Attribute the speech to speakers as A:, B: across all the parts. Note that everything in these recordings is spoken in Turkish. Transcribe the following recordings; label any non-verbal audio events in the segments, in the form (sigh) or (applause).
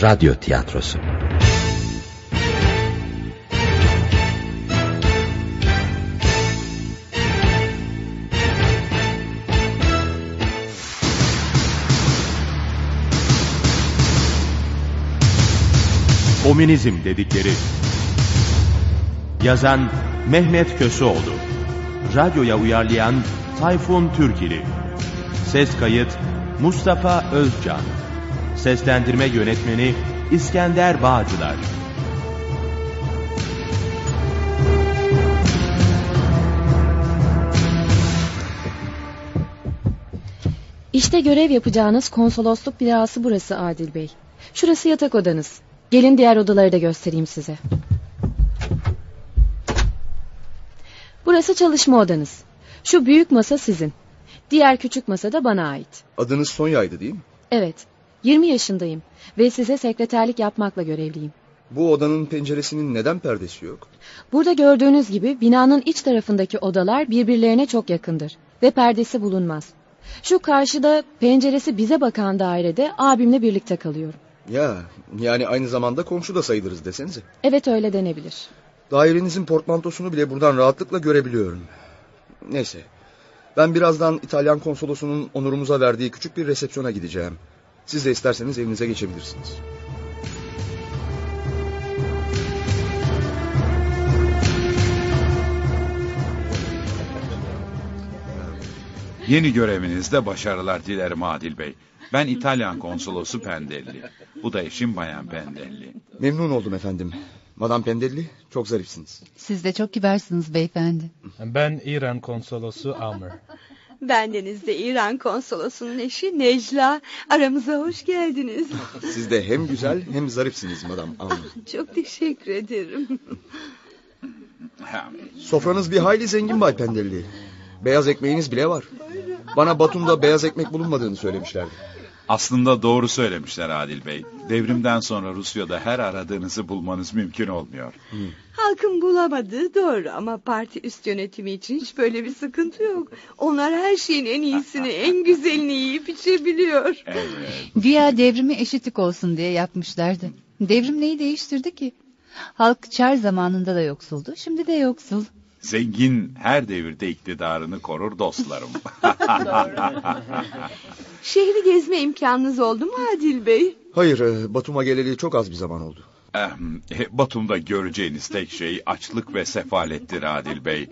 A: Radyo Tiyatrosu
B: Komünizm dedikleri. Yazan Mehmet Köseoğlu. Radyoya uyarlayan Tayfun Türkili. Ses kayıt Mustafa Özcan. Seslendirme yönetmeni İskender Bağcılar.
C: İşte görev yapacağınız konsolosluk binası burası Adil Bey. Şurası yatak odanız. Gelin diğer odaları da göstereyim size. Burası çalışma odanız. Şu büyük masa sizin. Diğer küçük masa da bana ait.
D: Adınız Sonya'ydı değil mi?
C: Evet, 20 yaşındayım ve size sekreterlik yapmakla görevliyim.
D: Bu odanın penceresinin neden perdesi yok?
C: Burada gördüğünüz gibi binanın iç tarafındaki odalar birbirlerine çok yakındır ve perdesi bulunmaz. Şu karşıda penceresi bize bakan dairede abimle birlikte kalıyorum.
D: Ya, yani aynı zamanda komşu da sayılırız desenize.
C: Evet öyle denebilir.
D: Dairenizin portmantosunu bile buradan rahatlıkla görebiliyorum. Neyse, ben birazdan İtalyan konsolosunun onurumuza verdiği küçük bir resepsiyona gideceğim. Siz de isterseniz evinize geçebilirsiniz.
E: Yeni görevinizde başarılar dilerim Adil Bey. Ben İtalyan konsolosu Pendelli. Bu da eşim Bayan Pendelli.
D: Memnun oldum efendim. Madam Pendelli, çok zarifsiniz.
F: Siz de çok kibarsınız beyefendi.
G: Ben İran konsolosu Amr.
H: Bendeniz de İran konsolosunun eşi Necla. Aramıza hoş geldiniz.
D: Siz de hem güzel hem zarifsiniz madam. Aman.
H: Çok teşekkür ederim.
D: Sofranız bir hayli zengin Bay Pendelli. Beyaz ekmeğiniz bile var. Bana Batum'da beyaz ekmek bulunmadığını söylemişlerdi.
E: Aslında doğru söylemişler Adil Bey. Devrimden sonra Rusya'da her aradığınızı bulmanız mümkün olmuyor.
H: Halkın bulamadığı doğru ama parti üst yönetimi için hiç böyle bir sıkıntı yok. Onlar her şeyin en iyisini, en güzelini yiyip içebiliyor.
E: Evet.
F: Güya devrimi eşitlik olsun diye yapmışlardı. Devrim neyi değiştirdi ki? Halk çar zamanında da yoksuldu, şimdi de yoksul.
E: Zengin her devirde iktidarını korur dostlarım. (laughs)
H: Şehri gezme imkanınız oldu mu Adil Bey?
D: Hayır, e, Batum'a geleli çok az bir zaman oldu.
E: Ehem, Ehm, e, Batum'da göreceğiniz tek şey açlık ve sefalettir Adil Bey.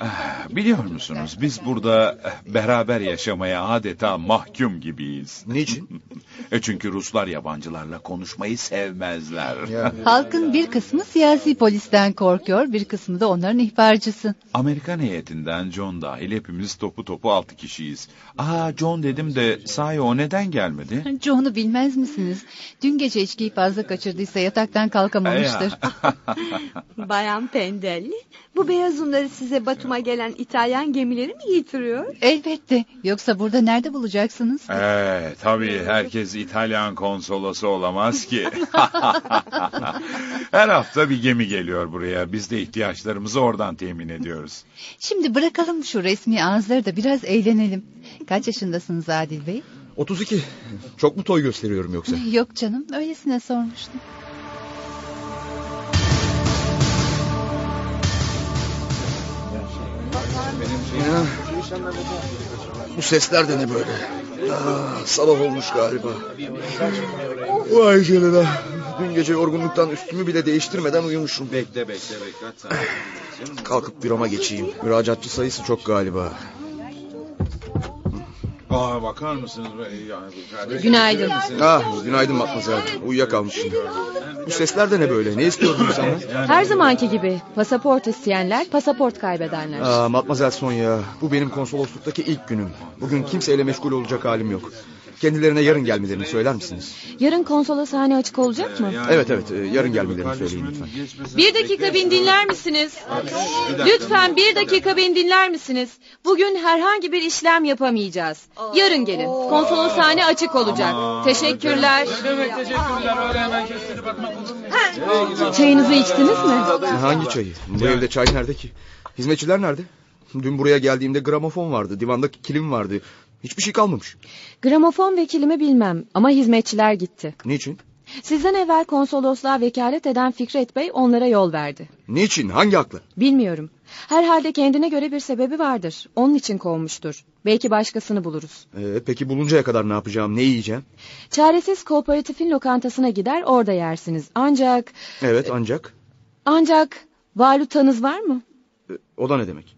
E: Ah, Biliyor musunuz biz burada eh, beraber yaşamaya adeta mahkum gibiyiz.
D: Niçin?
E: E çünkü Ruslar yabancılarla konuşmayı sevmezler.
D: Ya.
F: Halkın bir kısmı siyasi polisten korkuyor, bir kısmı da onların ihbarcısı.
E: (laughs) Amerikan heyetinden John dahil hepimiz topu topu altı kişiyiz. Aa John dedim de sahi o neden gelmedi?
F: John'u bilmez misiniz? Dün gece içkiyi fazla kaçırdıysa
E: (laughs)
F: yataktan kalkamamıştır.
H: Bayan Pendelli, bu beyaz unları size Batum'a gelen İtalyan gemileri mi getiriyor?
F: Elbette. Yoksa burada nerede bulacaksınız?
E: Ee, tabii herkes İtalyan konsolosu olamaz ki. (laughs) Her hafta bir gemi geliyor buraya. Biz de ihtiyaçlarımızı oradan temin ediyoruz.
F: Şimdi bırakalım şu resmi ağızları da biraz eğlenelim. Kaç yaşındasınız Adil Bey?
D: 32. Çok mu toy gösteriyorum yoksa?
F: Yok canım, öylesine sormuştum.
D: Ya, bu sesler de ne böyle? Aa, sabah olmuş galiba. Vay canına. Dün gece yorgunluktan üstümü bile değiştirmeden uyumuşum. Bekle bekle bekle. Kalkıp büroma geçeyim. Müracaatçı sayısı çok galiba.
E: Aa bakar mısınız? Yani,
C: Günaydın.
D: Ah günaydın matmazel. Uyuyakalmışım. Bu sesler de ne böyle? Ne istiyordun sen?
C: Her zamanki gibi pasaport isteyenler pasaport kaybedenler.
D: Aa, matmazel Sonya. Bu benim konsolosluktaki ilk günüm. Bugün kimseyle meşgul olacak halim yok. Kendilerine yarın gelmelerini söyler misiniz?
C: Yarın konsoloshane açık olacak mı?
D: Evet evet e, yarın gelmelerini söyleyin lütfen.
C: Bir dakika beni dinler misiniz? Lütfen bir dakika beni dinler misiniz? Bugün herhangi bir işlem yapamayacağız. Yarın gelin. Konsoloshane açık olacak. Teşekkürler. Çayınızı içtiniz mi?
D: Hangi çayı? Bu evde çay nerede ki? Hizmetçiler nerede? Dün buraya geldiğimde gramofon vardı, divanda kilim vardı. Hiçbir şey kalmamış.
C: Gramofon ve kilimi bilmem ama hizmetçiler gitti.
D: Niçin?
C: Sizden evvel konsolosluğa vekalet eden Fikret Bey onlara yol verdi.
D: Niçin? Hangi hakla?
C: Bilmiyorum. Herhalde kendine göre bir sebebi vardır. Onun için kovmuştur. Belki başkasını buluruz.
D: Ee, peki buluncaya kadar ne yapacağım? Ne yiyeceğim?
C: Çaresiz kooperatifin lokantasına gider orada yersiniz. Ancak,
D: Evet ancak.
C: ancak valutanız var mı?
D: Ee, O da ne demek?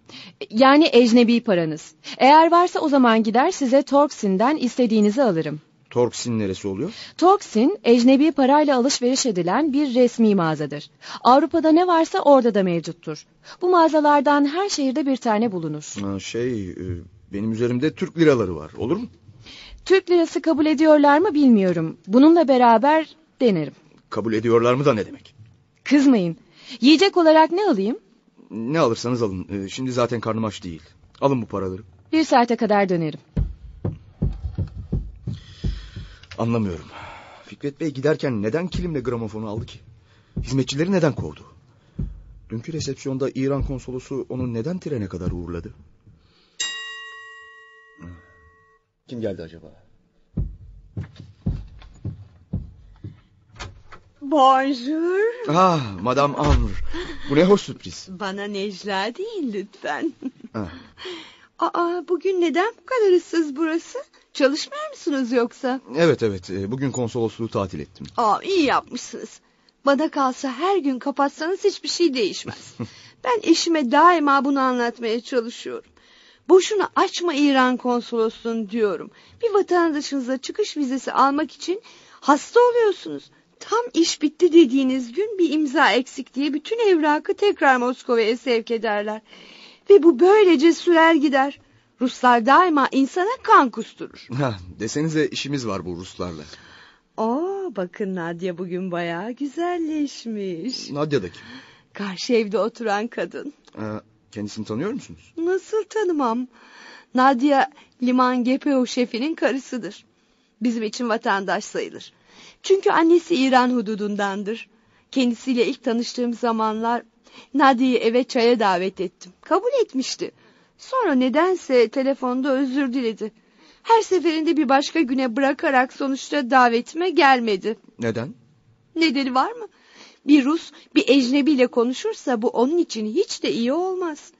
C: Yani ecnebi paranız. Eğer varsa o zaman gider size Torksin'den istediğinizi alırım.
D: Torksin neresi oluyor?
C: Torksin, ecnebi parayla alışveriş edilen bir resmi mağazadır. Avrupa'da ne varsa orada da mevcuttur. Bu mağazalardan her şehirde bir tane bulunur.
D: Ha, şey e, benim üzerimde Türk liraları var. Olur mu?
C: Türk lirası kabul ediyorlar mı bilmiyorum. Bununla beraber denerim.
D: Kabul ediyorlar mı da ne demek?
C: Kızmayın. Yiyecek olarak ne alayım?
D: Ne alırsanız alın. Ee, şimdi zaten karnım aç değil. Alın bu paraları.
C: Bir saate kadar dönerim.
D: Anlamıyorum. Fikret Bey giderken neden kilimle gramofonu aldı ki? Hizmetçileri neden kovdu? Dünkü resepsiyonda İran konsolosu onu neden trene kadar uğurladı? Kim geldi acaba?
H: Bonjour.
D: Ah, Madame Amr. Bu ne hoş sürpriz.
H: Bana Necla değil lütfen.
D: Ha.
H: (laughs) Aa bugün neden bu kadar ıssız burası? Çalışmıyor musunuz yoksa?
D: Evet evet, e, bugün konsolosluğu tatil ettim.
H: Aa iyi yapmışsınız. Bana kalsa her gün kapatsanız hiçbir şey değişmez. ben eşime daima bunu anlatmaya çalışıyorum. Boşuna açma İran konsolosluğunu diyorum. Bir vatandaşınıza çıkış vizesi almak için hasta oluyorsunuz. Tam iş bitti dediğiniz gün bir imza eksik diye bütün evrakı tekrar Moskova'ya sevk ederler. Ve bu böylece sürer gider. Ruslar daima insana kan kusturur.
D: Ha, desenize işimiz var bu Ruslarla.
H: Aa bakın Nadia bugün bayağı güzelleşmiş.
D: Nadia da kim?
H: Karşı evde oturan kadın.
D: Ee, kendisini tanıyor musunuz?
H: Nasıl tanımam? Nadia Liman Gepeo şefinin karısıdır. Bizim için vatandaş sayılır. Çünkü annesi İran hududundandır. Kendisiyle ilk tanıştığım zamanlar Nadia'yı eve çaya davet ettim. Kabul etmişti. Sonra nedense telefonda özür diledi. Her seferinde bir başka güne bırakarak sonuçta davetime gelmedi.
D: Neden?
H: Nedeni var mı? Bir Rus bir ecnebiyle konuşursa bu onun için hiç de iyi olmaz.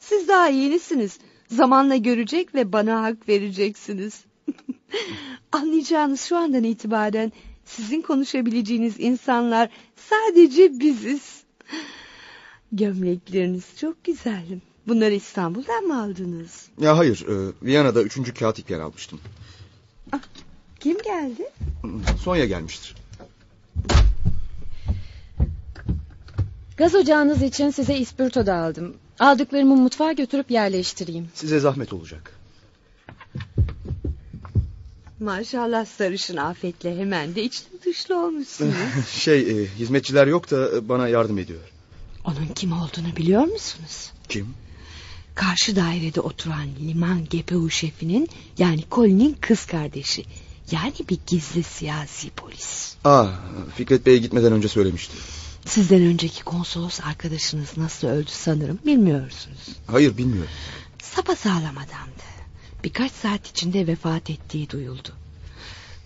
H: Siz daha yenisiniz. Zamanla görecek ve bana hak vereceksiniz. (laughs) Anlayacağınız şu andan itibaren sizin konuşabileceğiniz insanlar sadece biziz. Gömlekleriniz çok güzel. Bunları İstanbul'dan mı aldınız?
D: Ya hayır, e, Viyana'da üçüncü kağıt iken almıştım.
H: Kim geldi?
D: Sonya gelmiştir.
C: Gaz ocağınız için size ispirto da aldım. Aldıklarımı mutfağa götürüp yerleştireyim.
D: Size zahmet olacak.
H: Maşallah sarışın afetle hemen de içli dışlı olmuşsunuz.
D: (laughs) Şey, e, hizmetçiler yok da e, bana yardım ediyor.
H: Onun kim olduğunu biliyor musunuz?
D: Kim?
H: Karşı dairede oturan liman GPU şefinin yani Colin'in kız kardeşi. Yani bir gizli siyasi polis.
D: Aa, Fikret Bey gitmeden önce söylemişti.
H: Sizden önceki konsolos arkadaşınız nasıl öldü sanırım bilmiyorsunuz.
D: Hayır, bilmiyorum.
H: Sapasağlam adamdı. Birkaç saat içinde vefat ettiği duyuldu.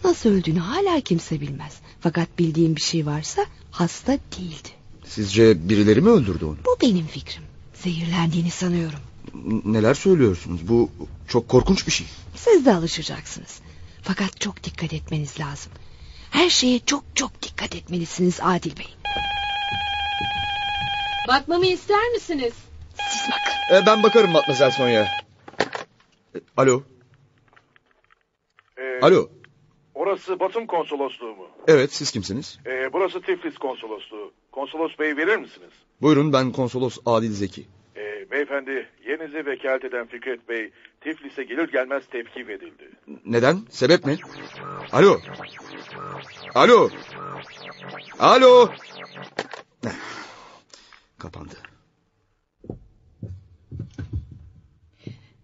H: Nasıl öldüğünü hala kimse bilmez. Fakat bildiğim bir şey varsa hasta değildi.
D: Sizce birileri mi öldürdü onu?
H: Bu benim fikrim. Zehirlendiğini sanıyorum.
D: N- Neler söylüyorsunuz? Bu çok korkunç bir şey.
H: Siz de alışacaksınız. Fakat çok dikkat etmeniz lazım. Her şeye çok çok dikkat etmelisiniz Adil Bey.
C: Bakmamı ister misiniz?
H: Siz bakın.
D: E, ben bakarım Matmazel Sonya. E, alo,
I: Ee,
D: alo.
I: Orası Batum konsolosluğu mu?
D: Evet, siz kimsiniz?
I: Ee, burası Tiflis konsolosluğu. Konsolos bey verir misiniz?
D: Buyurun, ben konsolos Adil Zeki.
I: Ee, beyefendi yerinize vekalet eden Fikret Bey Tiflis'e gelir gelmez tepki edildi.
D: Neden? Sebep ne? Alo. Alo. Alo. Eh, Kapandı.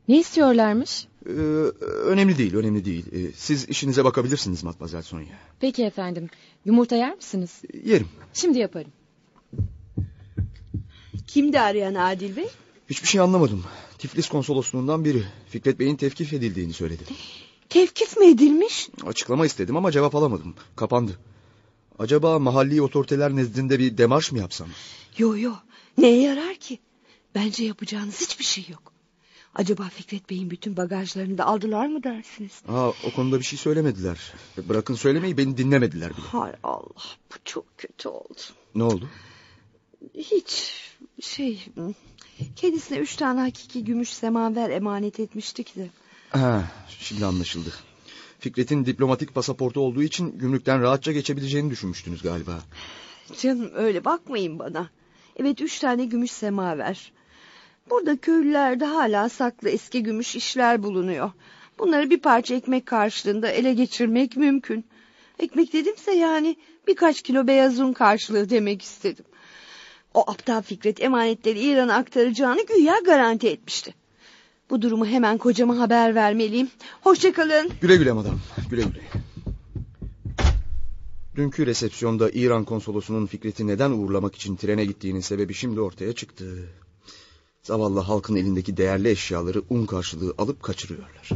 C: Ne istiyorlarmış?
D: Ee, önemli değil, önemli değil. Ee, siz işinize bakabilirsiniz Matmazel Sonya.
C: Peki efendim. Yumurta yer misiniz?
D: Yerim.
C: Şimdi yaparım.
H: Kimdi arayan Adil Bey?
D: Hiçbir şey anlamadım. Tiflis konsolosluğundan biri Fikret Bey'in tevkif edildiğini söyledi.
H: Tevkif mi edilmiş?
D: Açıklama istedim ama cevap alamadım. Kapandı. Acaba mahalli otoriteler nezdinde bir demarş mı yapsam?
H: Yo yo neye yarar ki? Bence yapacağınız hiçbir şey yok. Acaba Fikret Bey'in bütün bagajlarını da aldılar mı dersiniz?
D: Aa, o konuda bir şey söylemediler. Bırakın söylemeyi beni dinlemediler bile.
H: Hay Allah bu çok kötü oldu.
D: Ne oldu?
H: Hiç şey kendisine üç tane hakiki gümüş semaver emanet etmiştik de.
D: Ha, şimdi anlaşıldı. Fikret'in diplomatik pasaportu olduğu için gümrükten rahatça geçebileceğini düşünmüştünüz galiba.
H: Canım öyle bakmayın bana. Evet üç tane gümüş semaver. Burada köylülerde hala saklı eski gümüş işler bulunuyor. Bunları bir parça ekmek karşılığında ele geçirmek mümkün. Ekmek dedimse yani birkaç kilo beyaz un karşılığı demek istedim. O aptal Fikret emanetleri İran'a aktaracağını güya garanti etmişti. Bu durumu hemen kocama haber vermeliyim. Hoşçakalın.
D: Güle güle madam, güle güle. Dünkü resepsiyonda İran konsolosunun Fikret'i neden uğurlamak için trene gittiğinin sebebi şimdi ortaya çıktı. Zavallı halkın elindeki değerli eşyaları un karşılığı alıp kaçırıyorlar.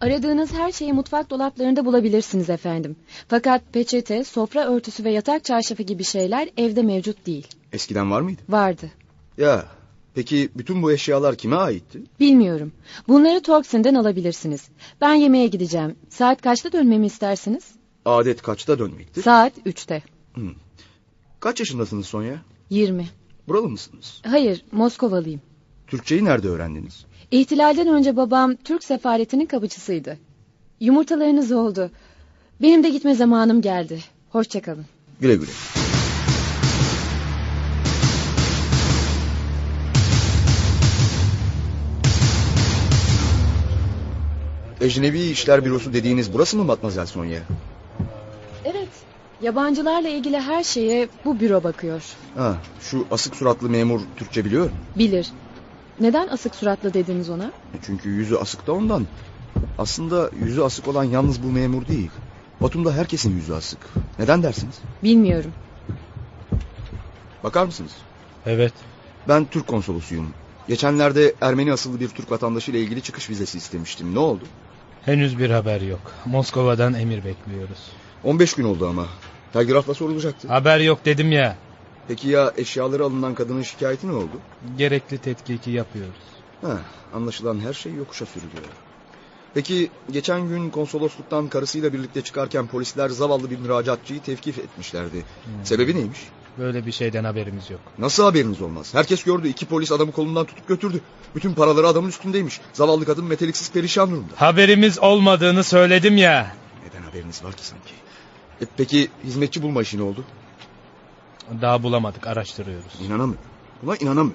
C: Aradığınız her şeyi mutfak dolaplarında bulabilirsiniz efendim. Fakat peçete, sofra örtüsü ve yatak çarşafı gibi şeyler evde mevcut değil.
D: Eskiden var mıydı?
C: Vardı.
D: Ya, peki bütün bu eşyalar kime aitti?
C: Bilmiyorum. Bunları Torksin'den alabilirsiniz. Ben yemeğe gideceğim. Saat kaçta dönmemi istersiniz?
D: Adet kaçta dönmekti?
C: Saat üçte.
D: Kaç yaşındasınız Sonya?
C: Yirmi.
D: Buralı mısınız?
C: Hayır, Moskovalıyım.
D: Türkçeyi nerede öğrendiniz?
C: İhtilalden önce babam Türk sefaretinin kapıcısıydı. Yumurtalarınız oldu. Benim de gitme zamanım geldi. Hoşçakalın.
D: Güle güle. Ecnebi İşler Bürosu dediğiniz burası mı Matmazel Sonya?
C: Evet, yabancılarla ilgili her şeye bu büro bakıyor.
D: Ha, şu asık suratlı memur Türkçe biliyor. mu?
C: Bilir. Neden asık suratlı dediniz ona?
D: E, Çünkü yüzü asık da ondan. Aslında yüzü asık olan yalnız bu memur değil. Batum'da herkesin yüzü asık. Neden dersiniz?
C: Bilmiyorum.
D: Bakar mısınız?
A: Evet.
D: Ben Türk konsolosuyum. Geçenlerde Ermeni asıllı bir Türk vatandaşı ile ilgili çıkış vizesi istemiştim. Ne oldu?
A: Henüz bir haber yok. Moskova'dan emir bekliyoruz.
D: 15 gün oldu ama. Telgrafla sorulacaktı.
A: Haber yok dedim ya.
D: Peki ya eşyaları alınan kadının şikayeti ne oldu?
A: Gerekli tetkiki yapıyoruz.
D: Ha, anlaşılan her şey yokuşa sürülüyor. Peki geçen gün konsolosluktan karısıyla birlikte çıkarken polisler zavallı bir müracaatçıyı tevkif etmişlerdi. Sebebi neymiş?
A: Böyle bir şeyden haberimiz yok.
D: Nasıl haberiniz olmaz? Herkes gördü iki polis adamı kolundan tutup götürdü. Bütün paraları adamın üstündeymiş. Zavallı kadın meteliksiz perişan durumda.
A: Haberimiz olmadığını söyledim ya.
D: Neden haberiniz var ki sanki? E, peki hizmetçi bulma işi ne oldu?
A: Daha bulamadık araştırıyoruz.
D: İnanamıyorum. Buna inanamıyorum.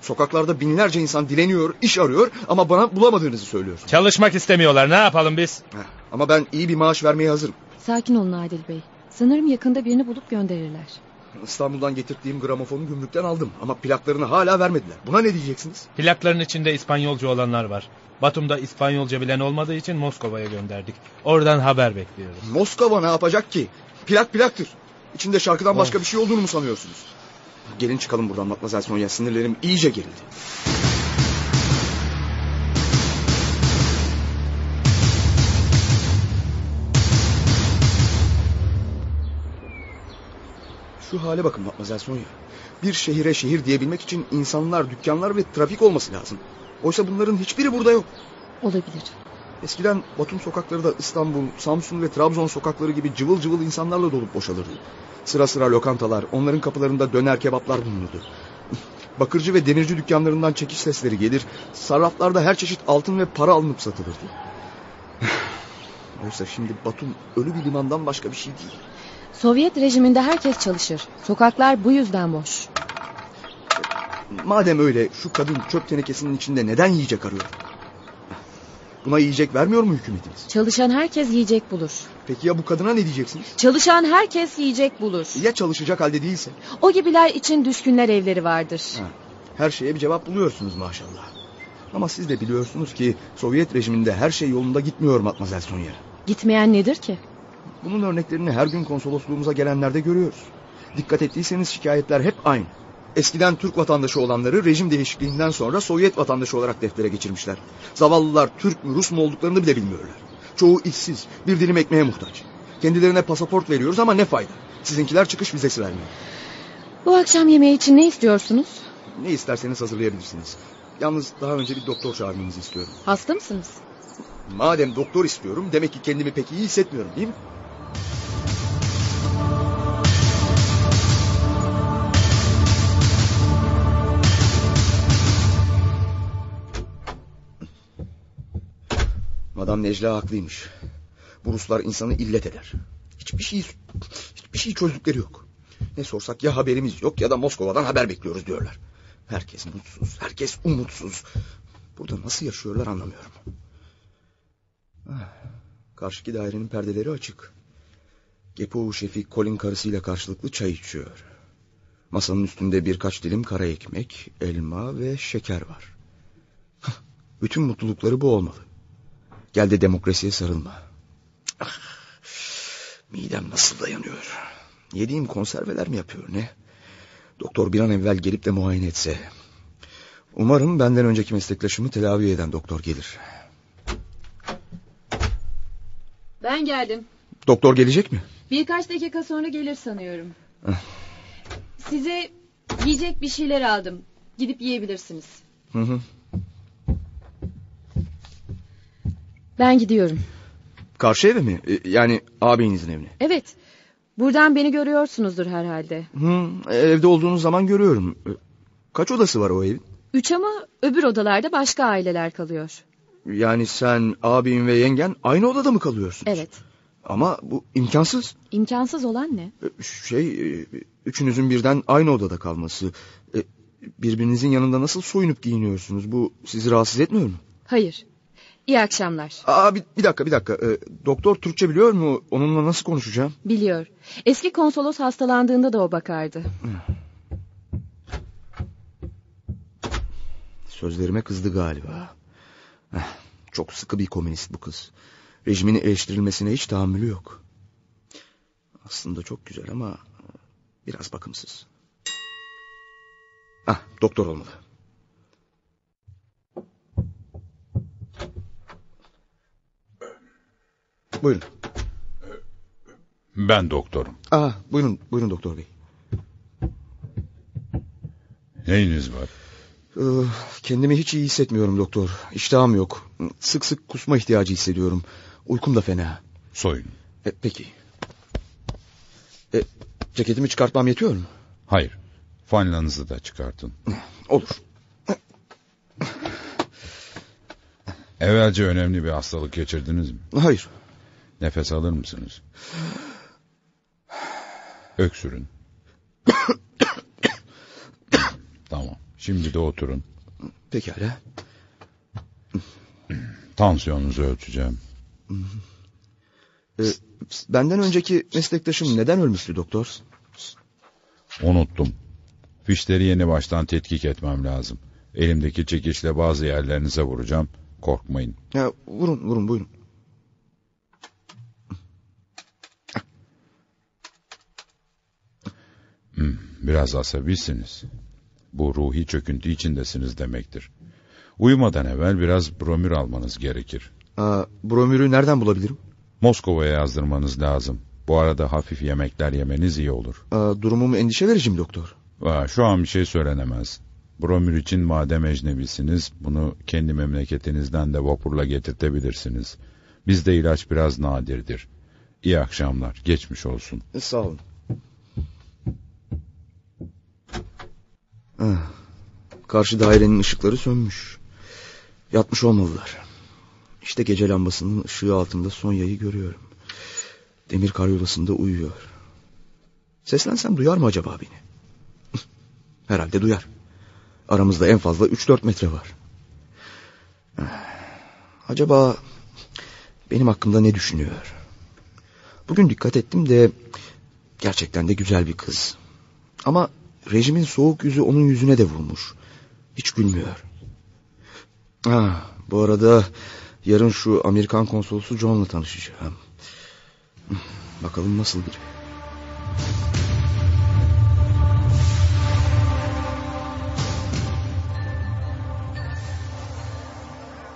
D: Sokaklarda binlerce insan dileniyor, iş arıyor ama bana bulamadığınızı söylüyorsun.
A: Çalışmak istemiyorlar ne yapalım biz?
D: Heh, ama ben iyi bir maaş vermeye hazırım.
C: Sakin olun Adil Bey. Sanırım yakında birini bulup gönderirler.
D: İstanbul'dan getirdiğim gramofonu gümrükten aldım ama plaklarını hala vermediler. Buna ne diyeceksiniz?
A: Plakların içinde İspanyolca olanlar var. Batum'da İspanyolca bilen olmadığı için Moskova'ya gönderdik. Oradan haber bekliyoruz.
D: Moskova ne yapacak ki? Plak plaktır. İçinde şarkıdan başka bir şey olduğunu mu sanıyorsunuz? Gelin çıkalım buradan Matmazel Sonya. Sinirlerim iyice gerildi. Şu hale bakın Matmazel Sonya. Bir şehire şehir diyebilmek için insanlar, dükkanlar ve trafik olması lazım. Oysa bunların hiçbiri burada yok.
C: Olabilir.
D: Eskiden Batum sokakları da İstanbul, Samsun ve Trabzon sokakları gibi cıvıl cıvıl insanlarla dolup boşalırdı. Sıra sıra lokantalar, onların kapılarında döner kebaplar bulunurdu. (laughs) Bakırcı ve demirci dükkanlarından çekiş sesleri gelir, sarraflarda her çeşit altın ve para alınıp satılırdı. (sighs) Oysa şimdi Batum ölü bir limandan başka bir şey değil.
C: Sovyet rejiminde herkes çalışır. Sokaklar bu yüzden boş.
D: Madem öyle şu kadın çöp tenekesinin içinde neden yiyecek arıyor? (sighs) Buna yiyecek vermiyor mu hükümetimiz?
C: Çalışan herkes yiyecek bulur.
D: Peki ya bu kadına ne diyeceksiniz?
C: Çalışan herkes yiyecek bulur.
D: Ya çalışacak halde değilse?
C: O gibiler için düşkünler evleri vardır.
D: Ha, Her şeye bir cevap buluyorsunuz maşallah. Ama siz de biliyorsunuz ki Sovyet rejiminde her şey yolunda gitmiyor Matmazel Sonya.
C: Gitmeyen nedir ki?
D: Bunun örneklerini her gün konsolosluğumuza gelenlerde görüyoruz. Dikkat ettiyseniz şikayetler hep aynı. Eskiden Türk vatandaşı olanları rejim değişikliğinden sonra Sovyet vatandaşı olarak deftere geçirmişler. Zavallılar Türk mü Rus mu olduklarını bile bilmiyorlar. Çoğu işsiz, bir dilim ekmeğe muhtaç. Kendilerine pasaport veriyoruz ama ne fayda. Sizinkiler çıkış vizesi vermiyor.
C: Bu akşam yemeği için ne istiyorsunuz?
D: Ne isterseniz hazırlayabilirsiniz. Yalnız daha önce bir doktor çağırmanızı istiyorum.
C: Hasta mısınız?
D: Madem doktor istiyorum demek ki kendimi pek iyi hissetmiyorum değil mi? Madam Necla haklıymış. Bu Ruslar insanı illet eder. Hiçbir şey hiçbir şey çözdükleri yok. Ne sorsak ya haberimiz yok ya da Moskova'dan haber bekliyoruz diyorlar. Herkes mutsuz, herkes umutsuz. Burada nasıl yaşıyorlar anlamıyorum. Ah, Karşıki dairenin perdeleri açık. Gepo şefi Colin karısıyla karşılıklı çay içiyor. Masanın üstünde birkaç dilim kara ekmek, elma ve şeker var. (laughs) Hah, Bütün mutlulukları bu olmalı. Gel de demokrasiye sarılma. (sighs) Ah, Midem nasıl dayanıyor? Yediğim konserveler mi yapıyor ne? Doktor bir an evvel gelip de muayene etse. Umarım benden önceki meslektaşımı tedavi eden doktor gelir.
C: Ben geldim.
D: Doktor gelecek mi?
C: Birkaç dakika sonra gelir sanıyorum.
D: Ah.
C: Size yiyecek bir şeyler aldım. Gidip yiyebilirsiniz.
D: Hı hı.
C: Ben gidiyorum.
D: Karşı eve mi? E, Yani ağabeyinizin evine.
C: Evet. Buradan beni görüyorsunuzdur herhalde.
D: Hı, evde olduğunuz zaman görüyorum. E, Kaç odası var o evin?
C: Üç ama öbür odalarda başka aileler kalıyor.
D: Yani sen ağabeyin ve yengen aynı odada mı kalıyorsun?
C: Evet.
D: Ama bu imkansız.
C: İmkansız olan ne?
D: E, Şey, e, üçünüzün birden aynı odada kalması. E, Birbirinizin yanında nasıl soyunup giyiniyorsunuz? Bu sizi rahatsız etmiyor mu?
C: Hayır. İyi akşamlar.
D: Aa, bir, bir dakika, bir dakika. E, doktor Türkçe biliyor mu? Onunla nasıl konuşacağım?
C: Biliyor. Eski konsolos hastalandığında da o bakardı.
D: Sözlerime kızdı galiba. Eh, çok sıkı bir komünist bu kız. Rejimin eleştirilmesine hiç tahammülü yok. Aslında çok güzel ama e, biraz bakımsız. Ah, doktor olmalı. Buyurun.
E: Ben doktorum.
D: Ah, buyurun, buyurun doktor bey.
E: Neyiniz var?
D: Ee, Kendimi hiç iyi hissetmiyorum doktor. İştahım yok. Sık sık kusma ihtiyacı hissediyorum. Uykum da fena.
E: Soyun.
D: E, peki. E, ceketimi çıkartmam yetiyor mu?
E: Hayır. Fanlanızı da çıkartın.
D: Olur.
E: Evvelce önemli bir hastalık geçirdiniz mi?
D: Hayır.
E: Nefes alır mısınız? Öksürün. (coughs) tamam. Şimdi de oturun.
D: Pekala.
E: Tansiyonunuzu ölçeceğim.
D: E, benden önceki meslektaşım neden ölmüştü doktor?
E: Unuttum. Fişleri yeni baştan tetkik etmem lazım. Elimdeki çekişle bazı yerlerinize vuracağım. Korkmayın.
D: Ya, vurun vurun buyurun.
E: Hmm, biraz asabisiniz. Bu ruhi çöküntü içindesiniz demektir. Uyumadan evvel biraz bromür almanız gerekir.
D: Aa, bromürü nereden bulabilirim?
E: Moskova'ya yazdırmanız lazım. Bu arada hafif yemekler yemeniz iyi olur.
D: Aa, durumum endişe verici mi doktor?
E: Aa, şu an bir şey söylenemez. Bromür için madem ecnebisiniz, bunu kendi memleketinizden de vapurla getirtebilirsiniz. Bizde ilaç biraz nadirdir. İyi akşamlar, geçmiş olsun.
D: E, sağ olun. Ah, karşı dairenin ışıkları sönmüş. Yatmış olmalılar. İşte gece lambasının ışığı altında Sonya'yı görüyorum. Demir karyolasında uyuyor. Seslensem duyar mı acaba beni? (laughs) Herhalde duyar. Aramızda en fazla 3-4 metre var. Ah, Acaba benim hakkımda ne düşünüyor? Bugün dikkat ettim de gerçekten de güzel bir kız. Ama rejimin soğuk yüzü onun yüzüne de vurmuş. Hiç gülmüyor. Ah, bu arada yarın şu Amerikan konsolosu John'la tanışacağım. Bakalım nasıl biri.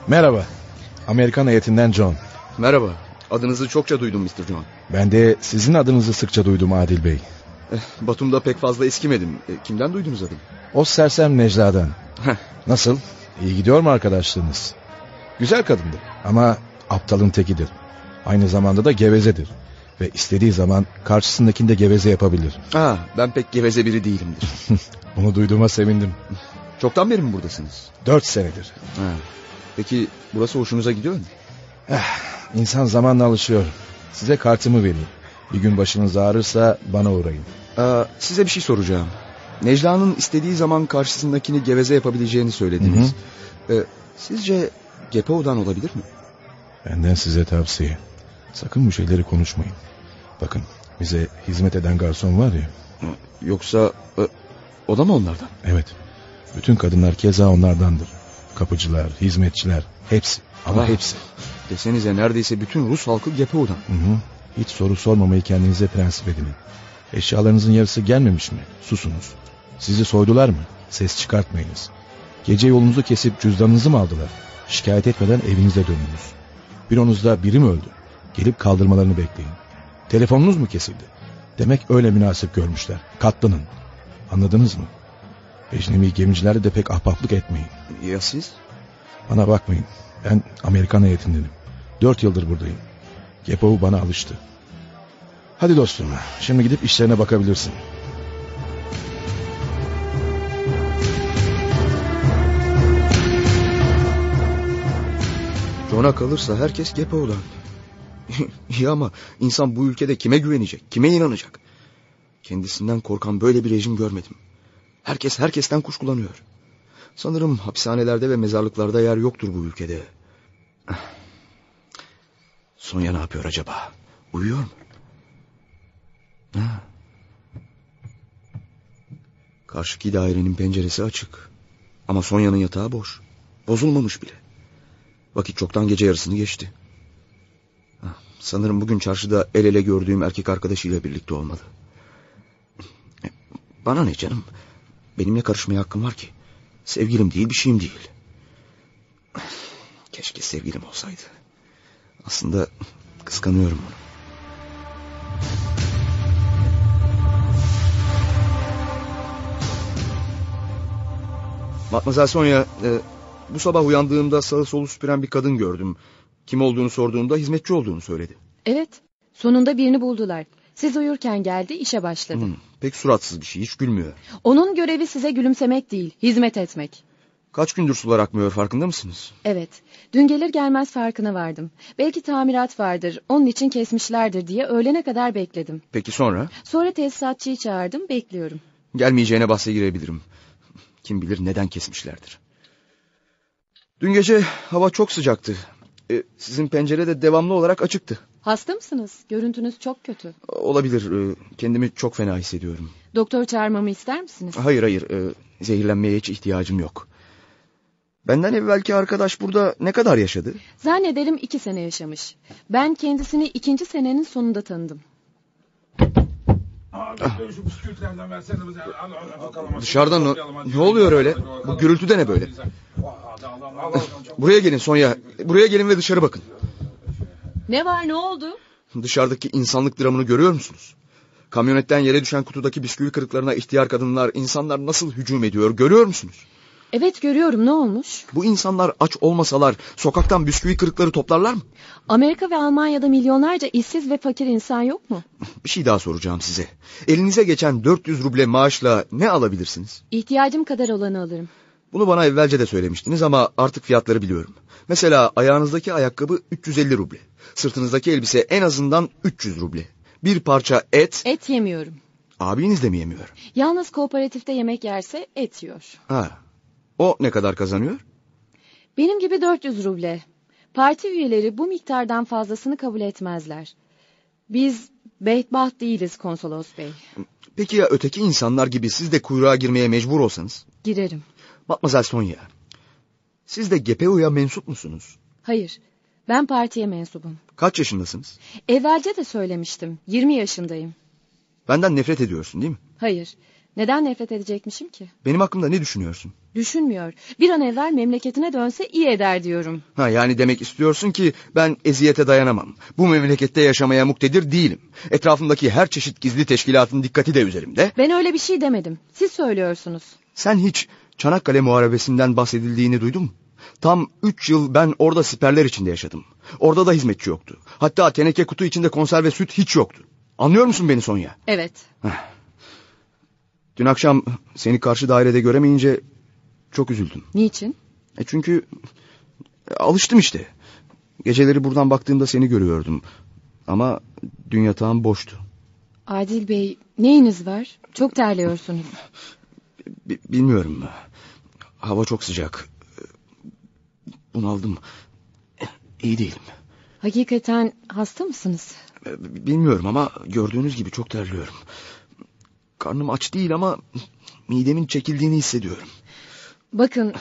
A: Merhaba. Amerikan heyetinden John.
D: Merhaba. Adınızı çokça duydum Mr. John.
I: Ben de sizin adınızı sıkça duydum Adil Bey.
D: Eh, Batum'da pek fazla eskimedim. Eh, Kimden duydunuz adımı?
I: O sersem Necla'dan.
D: Heh.
I: Nasıl? İyi gidiyor mu arkadaşlığınız? Güzel kadındı ama aptalın tekidir. Aynı zamanda da gevezedir. Ve istediği zaman karşısındakini de geveze yapabilir.
D: Aa, ben pek geveze biri değilimdir.
I: Bunu duyduğuma sevindim.
D: Çoktan beri mi buradasınız?
I: Dört senedir.
D: Ha. Peki burası hoşunuza gidiyor mu?
I: İnsan zamanla alışıyor. Size kartımı vereyim. Bir gün başınız ağrırsa bana uğrayın.
D: Aa, size bir şey soracağım. Necla'nın istediği zaman karşısındakini geveze yapabileceğini söylediniz. Eh, sizce Gepo'dan olabilir mi?
I: Benden size tavsiye. Sakın bu şeyleri konuşmayın. Bakın bize hizmet eden garson var ya.
D: Yoksa eh, o da mı onlardan?
I: Evet. Bütün kadınlar keza onlardandır. Kapıcılar, hizmetçiler hepsi. Ama
D: Ah.
I: hepsi.
D: Desenize neredeyse bütün Rus halkı Gepo'dan.
I: Hı hı. Hiç soru sormamayı kendinize prensip edinin. Eşyalarınızın yarısı gelmemiş mi? Susunuz. Sizi soydular mı? Ses çıkartmayınız. Gece yolunuzu kesip cüzdanınızı mı aldılar? Şikayet etmeden evinize dönünüz. Büronuzda biri mi öldü? Gelip kaldırmalarını bekleyin. Telefonunuz mu kesildi? Demek öyle münasip görmüşler. Katlanın. Anladınız mı? Ecnebi gemicilerde de pek ahbaplık etmeyin.
D: Ya siz?
I: Bana bakmayın. Ben Amerikan heyetindenim. Dört yıldır buradayım. Gepov bana alıştı. Hadi dostum, şimdi gidip işlerine bakabilirsin.
D: John'a kalırsa herkes Gepo'dan. (laughs) İyi ama insan bu ülkede kime güvenecek, kime inanacak? Kendisinden korkan böyle bir rejim görmedim. Herkes herkesten kuşkulanıyor. Sanırım hapishanelerde ve mezarlıklarda yer yoktur bu ülkede. (sighs) Sonya ne yapıyor acaba? Uyuyor mu? Ha. Karşıki dairenin penceresi açık. Ama Sonya'nın yatağı boş. Bozulmamış bile. Vakit çoktan gece yarısını geçti. Ah, Sanırım bugün çarşıda el ele gördüğüm erkek arkadaşıyla birlikte olmalı. E, Bana ne canım? Benimle karışmaya hakkım var ki. Sevgilim değil bir şeyim değil. Keşke sevgilim olsaydı. Aslında kıskanıyorum onu. Matmazel Sonya, e, bu sabah uyandığımda sağı solu süpüren bir kadın gördüm. Kim olduğunu sorduğumda hizmetçi olduğunu söyledi.
C: Evet. Sonunda birini buldular. Siz uyurken geldi, işe başladı.
D: Hmm, pek suratsız bir şey, hiç gülmüyor.
C: Onun görevi size gülümsemek değil, hizmet etmek.
D: Kaç gündür sular akmıyor farkında mısınız?
C: Evet. Dün gelir gelmez farkına vardım. Belki tamirat vardır, onun için kesmişlerdir diye öğlene kadar bekledim.
D: Peki sonra?
C: Sonra tesisatçıyı çağırdım, bekliyorum.
D: Gelmeyeceğine bahse girebilirim. Kim bilir neden kesmişlerdir. Dün gece hava çok sıcaktı. E, sizin pencere de devamlı olarak açıktı.
C: Hasta mısınız? Görüntünüz çok kötü.
D: Olabilir, e, kendimi çok fena hissediyorum.
C: Doktor çağırmamı ister misiniz?
D: Hayır hayır, e, zehirlenmeye hiç ihtiyacım yok. Benden evvelki arkadaş burada ne kadar yaşadı?
C: Zannederim iki sene yaşamış. Ben kendisini ikinci senenin sonunda tanıdım.
D: Dışarıdan o- ne oluyor öyle? Bu gürültü de ne böyle? E, Buraya gelin Sonya. Buraya gelin ve dışarı bakın.
C: Ne var ne oldu?
D: Dışarıdaki insanlık dramını görüyor musunuz? Kamyonetten yere düşen kutudaki bisküvi kırıklarına ihtiyar kadınlar, insanlar nasıl hücum ediyor görüyor musunuz?
C: Evet görüyorum ne olmuş?
D: Bu insanlar aç olmasalar sokaktan bisküvi kırıkları toplarlar mı?
C: Amerika ve Almanya'da milyonlarca işsiz ve fakir insan yok mu?
D: Bir şey daha soracağım size. Elinize geçen 400 ruble maaşla ne alabilirsiniz?
C: İhtiyacım kadar olanı alırım.
D: Bunu bana evvelce de söylemiştiniz ama artık fiyatları biliyorum. Mesela ayağınızdaki ayakkabı 350 ruble. Sırtınızdaki elbise en azından 300 ruble. Bir parça et,
C: Et yemiyorum.
D: abiniz de mi yemiyor?
C: Yalnız kooperatifte yemek yerse et yiyor.
D: Ha. O ne kadar kazanıyor?
C: Benim gibi 400 ruble. Parti üyeleri bu miktardan fazlasını kabul etmezler. Biz beytbaht değiliz konsolos bey.
D: Peki ya öteki insanlar gibi siz de kuyruğa girmeye mecbur olsanız?
C: Girerim.
D: Matmazel Sonya, siz de GPO'ya mensup musunuz?
C: Hayır. Ben partiye mensubum.
D: Kaç yaşındasınız?
C: Evvelce de söylemiştim. 20 yaşındayım.
D: Benden nefret ediyorsun değil mi?
C: Hayır. Neden nefret edecekmişim ki?
D: Benim hakkımda ne düşünüyorsun?
C: Düşünmüyor. Bir an evvel memleketine dönse iyi eder diyorum.
D: Ha yani demek istiyorsun ki ben eziyete dayanamam. Bu memlekette yaşamaya muktedir değilim. Etrafımdaki her çeşit gizli teşkilatın dikkati de üzerimde.
C: Ben öyle bir şey demedim. Siz söylüyorsunuz.
D: Sen hiç Çanakkale Muharebesi'nden bahsedildiğini duydun mu? Tam üç yıl ben orada siperler içinde yaşadım. Orada da hizmetçi yoktu. Hatta teneke kutu içinde konserve süt hiç yoktu. Anlıyor musun beni Sonya?
C: Evet.
D: Dün akşam seni karşı dairede göremeyince çok üzüldüm.
C: Niçin?
D: E çünkü e, alıştım işte. Geceleri buradan baktığımda seni görüyordum. Ama dün yatağım boştu.
C: Adil Bey neyiniz var? Çok terliyorsunuz.
D: Bi- bilmiyorum. Hava çok sıcak. E, Bunaldım. E, İyi değilim.
C: Hakikaten hasta mısınız?
D: E, b- Bilmiyorum ama gördüğünüz gibi çok terliyorum. Karnım aç değil ama midemin çekildiğini hissediyorum.
C: Bakın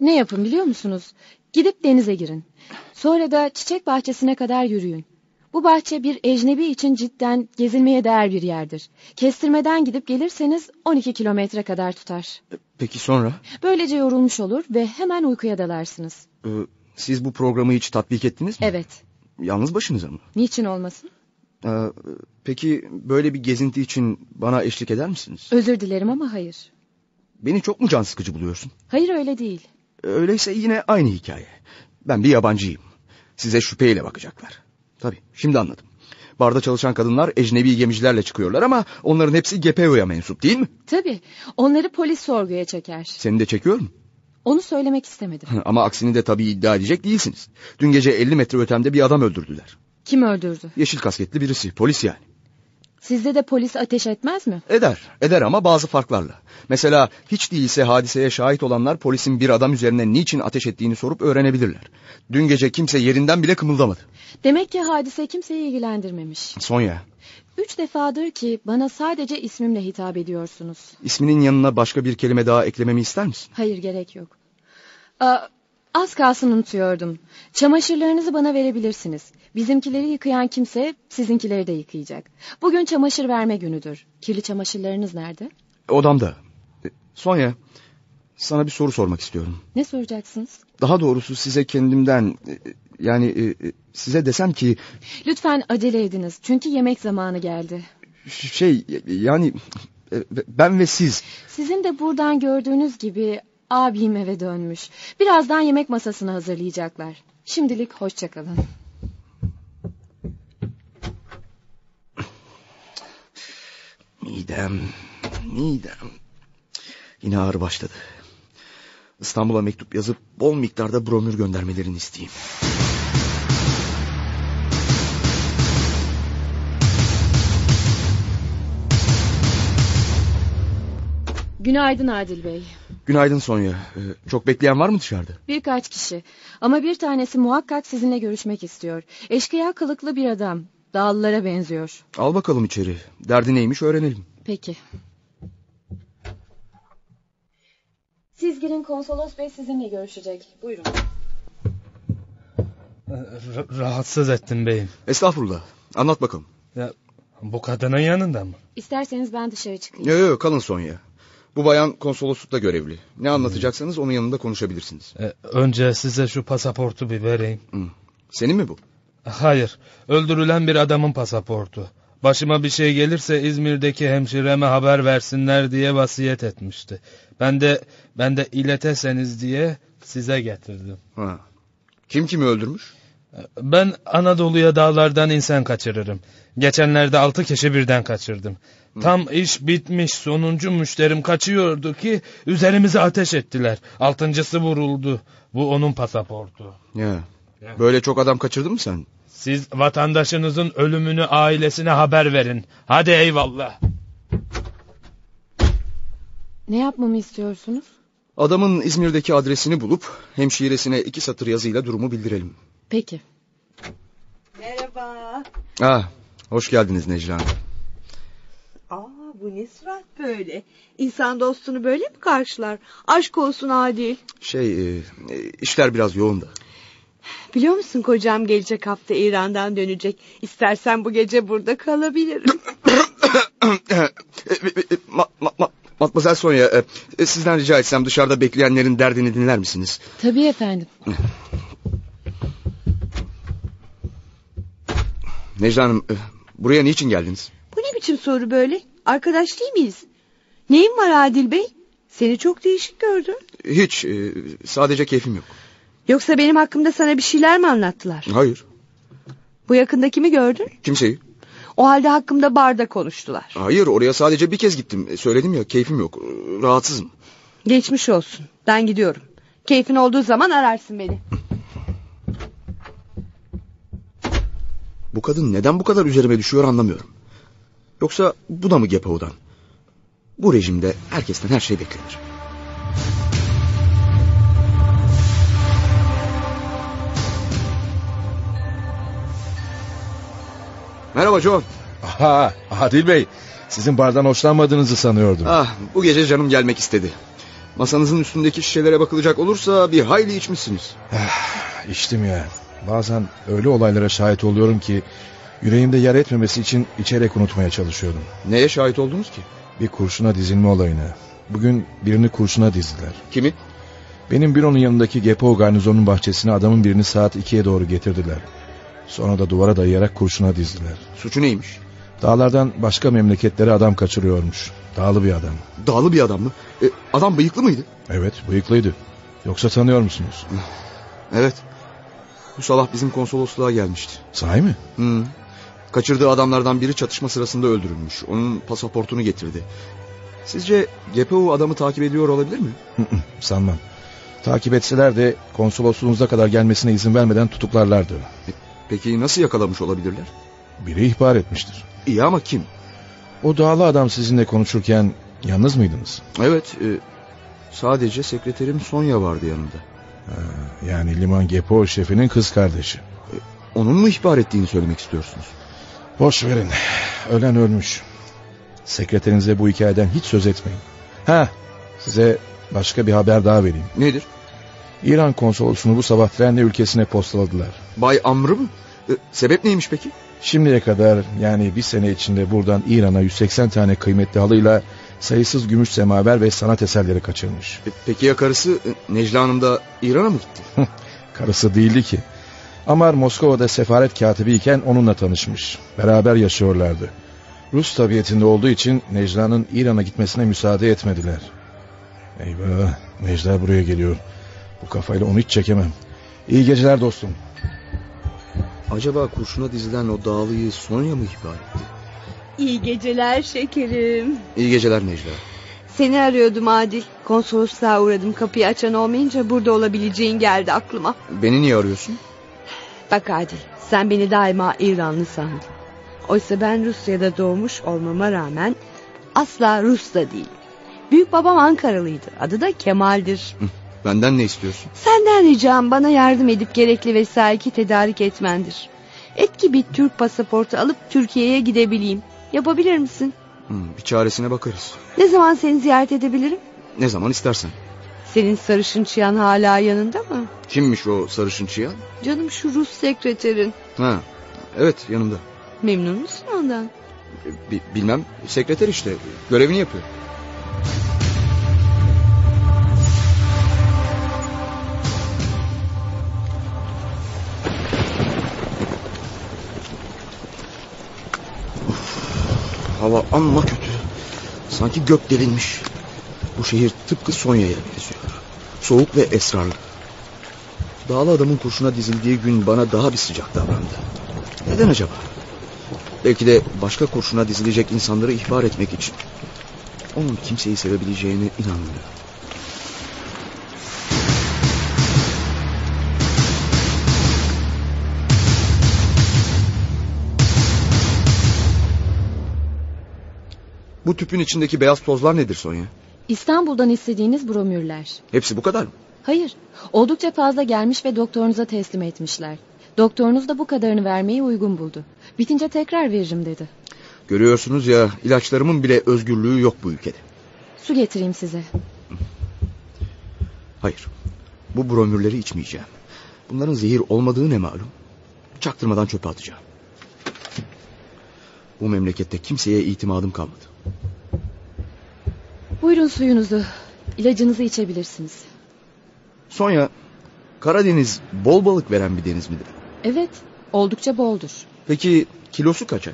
C: ne yapın biliyor musunuz? Gidip denize girin. Sonra da çiçek bahçesine kadar yürüyün. Bu bahçe bir ecnebi için cidden gezilmeye değer bir yerdir. Kestirmeden gidip gelirseniz 12 kilometre kadar tutar.
D: Peki sonra?
C: Böylece yorulmuş olur ve hemen uykuya dalarsınız.
D: E, Siz bu programı hiç tatbik ettiniz mi?
C: Evet.
D: Yalnız başınıza mı?
C: Niçin olmasın?
D: E, Peki böyle bir gezinti için bana eşlik eder misiniz?
C: Özür dilerim ama hayır.
D: Beni çok mu can sıkıcı buluyorsun?
C: Hayır öyle değil.
D: Öyleyse yine aynı hikaye. Ben bir yabancıyım. Size şüpheyle bakacaklar. Tabii şimdi anladım. Barda çalışan kadınlar ecnebi gemicilerle çıkıyorlar ama onların hepsi GPO'ya mensup değil mi?
C: Tabii onları polis sorguya çeker.
D: Seni de çekiyor mu?
C: Onu söylemek istemedim.
D: (laughs) ama aksini de tabii iddia edecek değilsiniz. Dün gece 50 metre ötemde bir adam öldürdüler.
C: Kim öldürdü?
D: Yeşil kasketli birisi, polis yani.
C: Sizde de polis ateş etmez mi?
D: Eder, eder ama bazı farklarla. Mesela hiç değilse hadiseye şahit olanlar polisin bir adam üzerine niçin ateş ettiğini sorup öğrenebilirler. Dün gece kimse yerinden bile kımıldamadı.
C: Demek ki hadise kimseyi ilgilendirmemiş.
D: Sonya,
C: Üç defadır ki bana sadece ismimle hitap ediyorsunuz.
D: isminin yanına başka bir kelime daha eklememi ister misin?
C: Hayır gerek yok. Aa, az kalsın unutuyordum. Çamaşırlarınızı bana verebilirsiniz. Bizimkileri yıkayan kimse sizinkileri de yıkayacak. Bugün çamaşır verme günüdür. Kirli çamaşırlarınız nerede?
D: Odamda. E, Sonya, sana bir soru sormak istiyorum.
C: Ne soracaksınız?
D: Daha doğrusu size kendimden, e, yani e, e, size desem ki
C: Lütfen acele ediniz çünkü yemek zamanı geldi.
D: şey e, yani e, ben ve siz
C: Sizin de buradan gördüğünüz gibi abim eve dönmüş. Birazdan yemek masasını hazırlayacaklar. Şimdilik hoşçakalın.
D: Midem, midem. Yine ağır başladı. İstanbul'a mektup yazıp bol miktarda bromür göndermelerini isteyeyim.
C: Günaydın Adil Bey.
D: Günaydın Sonya. Ee, çok bekleyen var mı dışarıda?
C: Birkaç kişi ama bir tanesi muhakkak sizinle görüşmek istiyor. Eşkıya kılıklı bir adam. Dağlılara benziyor.
D: Al bakalım içeri. Derdi neymiş öğrenelim.
C: Peki. Siz girin konsolos bey sizinle görüşecek. Buyurun.
I: rahatsız ettim beyim.
D: Estağfurullah. Anlat bakalım.
I: Bu kadının yanında mı?
C: İsterseniz ben dışarı çıkayım.
D: Yok yok kalın Sonya. Bu bayan konsoloslukta görevli. Ne anlatacaksanız onun yanında konuşabilirsiniz.
I: E, önce size şu pasaportu bir vereyim.
D: Senin mi bu?
I: Hayır, öldürülen bir adamın pasaportu. Başıma bir şey gelirse İzmir'deki hemşireme haber versinler diye vasiyet etmişti. Ben de ben de ileteseniz diye size getirdim.
D: Ha. Kim kimi öldürmüş?
I: Ben Anadolu'ya dağlardan insan kaçırırım. Geçenlerde altı kişi birden kaçırdım. Tam iş bitmiş sonuncu müşterim kaçıyordu ki üzerimize ateş ettiler. Altıncısı vuruldu. Bu onun pasaportu.
D: Ya.
I: Ya.
D: Böyle çok adam kaçırdın mı sen?
I: Siz vatandaşınızın ölümünü ailesine haber verin. Hadi eyvallah.
C: Ne yapmamı istiyorsunuz?
D: Adamın İzmir'deki adresini bulup hemşiresine iki satır yazıyla durumu bildirelim.
C: Peki.
H: Merhaba.
D: Ah, hoş geldiniz Necla Hanım.
H: Aa bu ne surat böyle? İnsan dostunu böyle mi karşılar? Aşk olsun Adil.
D: Şey, e, e, işler biraz yoğun da.
H: Biliyor musun kocam gelecek hafta İran'dan dönecek. İstersen bu gece burada kalabilirim.
D: E, Ma- ma- ma- Matmazel Sonya, e, e, sizden rica etsem dışarıda bekleyenlerin derdini dinler misiniz?
C: Tabii efendim.
D: Necla Hanım, e, buraya niçin geldiniz?
H: Bu ne biçim soru böyle? Arkadaş değil miyiz? Neyin var Adil Bey? Seni çok değişik gördüm.
D: Hiç, e, sadece keyfim yok.
H: Yoksa benim hakkımda sana bir şeyler mi anlattılar?
D: Hayır,
H: Bu yakında kimi gördün?
D: kimseyi.
H: O halde hakkımda barda konuştular.
D: Hayır, oraya sadece bir kez gittim. E, Söyledim ya, keyfim yok, e, rahatsızım.
H: Geçmiş olsun. Ben gidiyorum. Keyfin olduğu zaman ararsın beni.
D: Bu kadın neden bu kadar üzerime düşüyor anlamıyorum. Yoksa bu da mı Gepau'dan? Bu rejimde herkesten her şey beklenir. Merhaba John.
I: Aha, Adil Bey, sizin bardan hoşlanmadığınızı sanıyordum.
D: Ah, bu gece canım gelmek istedi. Masanızın üstündeki şişelere bakılacak olursa bir hayli içmişsiniz.
I: İçtim ya. Bazen öyle olaylara şahit oluyorum ki yüreğimde yer etmemesi için içerek unutmaya çalışıyorum.
D: Neye şahit oldunuz ki?
I: Bir kurşuna dizilme olayına. Bugün birini kurşuna dizdiler.
D: Kimi?
I: Benim büronun yanındaki Gepo garnizonun bahçesine adamın birini saat 2'ye doğru getirdiler. Sonra da duvara dayayarak kurşuna dizdiler.
D: Suçu neymiş?
I: Dağlardan başka memleketlere adam kaçırıyormuş. Dağlı bir adam.
D: Dağlı bir adam mı? E, adam bıyıklı mıydı?
I: Evet, bıyıklıydı. Yoksa tanıyor musunuz?
D: Evet. Bu sabah bizim konsolosluğa gelmişti.
I: Sahi mi?
D: Hı. Kaçırdığı adamlardan biri çatışma sırasında öldürülmüş. Onun pasaportunu getirdi. Sizce GPU adamı takip ediyor olabilir mi?
I: Hı hı, Sanmam. Takip etseler de konsolosluğunuza kadar gelmesine izin vermeden tutuklarlardı.
D: Peki nasıl yakalamış olabilirler?
I: Biri ihbar etmiştir.
D: İyi ama kim?
I: O dağlı adam sizinle konuşurken yalnız mıydınız?
D: Evet, e, sadece sekreterim Sonya vardı yanında.
I: Yani liman gepo şefinin kız kardeşi.
D: Onun mu ihbar ettiğini söylemek istiyorsunuz?
I: Boş verin. Ölen ölmüş. Sekreterinize bu hikayeden hiç söz etmeyin. Ha, size başka bir haber daha vereyim.
D: Nedir?
I: İran konsolosunu bu sabah trenle ülkesine postaladılar.
D: Bay Amr'ı mı? E, sebep neymiş peki?
I: Şimdiye kadar yani bir sene içinde buradan İran'a 180 tane kıymetli halıyla sayısız gümüş semaver ve sanat eserleri kaçırmış.
D: E, peki ya karısı e, Necla Hanım da İran'a mı gitti?
I: Karısı değildi ki. Amar Moskova'da sefaret katibi iken onunla tanışmış. Beraber yaşıyorlardı. Rus tabiatinde olduğu için Necla'nın İran'a gitmesine müsaade etmediler. Eyvah Necla buraya geliyor. Bu kafayla onu hiç çekemem. İyi geceler dostum.
D: Acaba kurşuna dizilen o dağlıyı Sonya mı ihbar etti?
H: İyi geceler şekerim.
D: İyi geceler Necla.
H: Seni arıyordum Adil. Konsolosluğa uğradım kapıyı açan olmayınca burada olabileceğin geldi aklıma.
D: Beni niye arıyorsun?
H: Bak Adil sen beni daima İranlı sandın. Oysa ben Rusya'da doğmuş olmama rağmen asla Rus da değilim. Büyük babam Ankaralıydı. Adı da Kemal'dir.
D: Benden ne istiyorsun?
H: Senden ricam bana yardım edip gerekli vesaiki tedarik etmendir. Et ki bir Türk pasaportu alıp Türkiye'ye gidebileyim. Yapabilir misin?
D: Hı, Hmm, bir çaresine bakarız.
H: Ne zaman seni ziyaret edebilirim?
D: Ne zaman istersen.
H: Senin sarışın çıyan hala yanında mı?
D: Kimmiş o sarışın çıyan?
H: Canım şu Rus sekreterin.
D: Ha, evet yanımda.
H: Memnun musun ondan?
D: E, bi- bilmem sekreter işte görevini yapıyor. Of, Hava amma kötü. Sanki gök delinmiş. Bu şehir tıpkı Sonya'ya benziyor. Soğuk ve esrarlı. Dağlı adamın kurşuna dizildiği gün bana daha bir sıcak davrandı. Neden acaba? Belki de başka kurşuna dizilecek insanları ihbar etmek için. Onun kimseyi sevebileceğine inanmıyorum. Bu tüpün içindeki beyaz tozlar nedir Sonya?
C: İstanbul'dan istediğiniz bromürler.
D: Hepsi bu kadar mı?
C: Hayır, oldukça fazla gelmiş ve doktorunuza teslim etmişler. Doktorunuz da bu kadarını vermeyi uygun buldu. Bitince tekrar veririm dedi.
D: Görüyorsunuz ya ilaçlarımın bile özgürlüğü yok bu ülkede.
C: Su getireyim size.
D: Hayır. Bu bromürleri içmeyeceğim. Bunların zehir olmadığı ne malum? Çaktırmadan çöpe atacağım. Bu memlekette kimseye itimadım kalmadı.
C: Buyurun suyunuzu. İlacınızı içebilirsiniz.
D: Sonya, Karadeniz bol balık veren bir deniz midir?
C: Evet, oldukça boldur.
D: Peki kilosu kaça?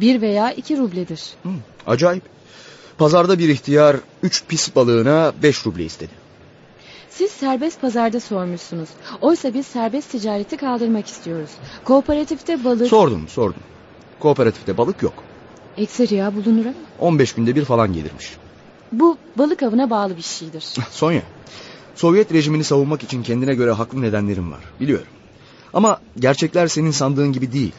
C: Bir veya iki rubledir.
D: Acayip. Pazarda bir ihtiyar 3 pis balığına 5 ruble istedi.
C: Siz serbest pazarda sormuşsunuz. Oysa biz serbest ticareti kaldırmak istiyoruz. Kooperatifte balık...
D: Sordum sordum. Kooperatifte balık yok.
C: Ekseriya bulunur ama.
D: 15 günde bir falan gelirmiş.
C: Bu balık avına bağlı bir şeydir.
D: Sonya, Sovyet rejimini savunmak için kendine göre haklı nedenlerim var. Biliyorum. Ama gerçekler senin sandığın gibi değil.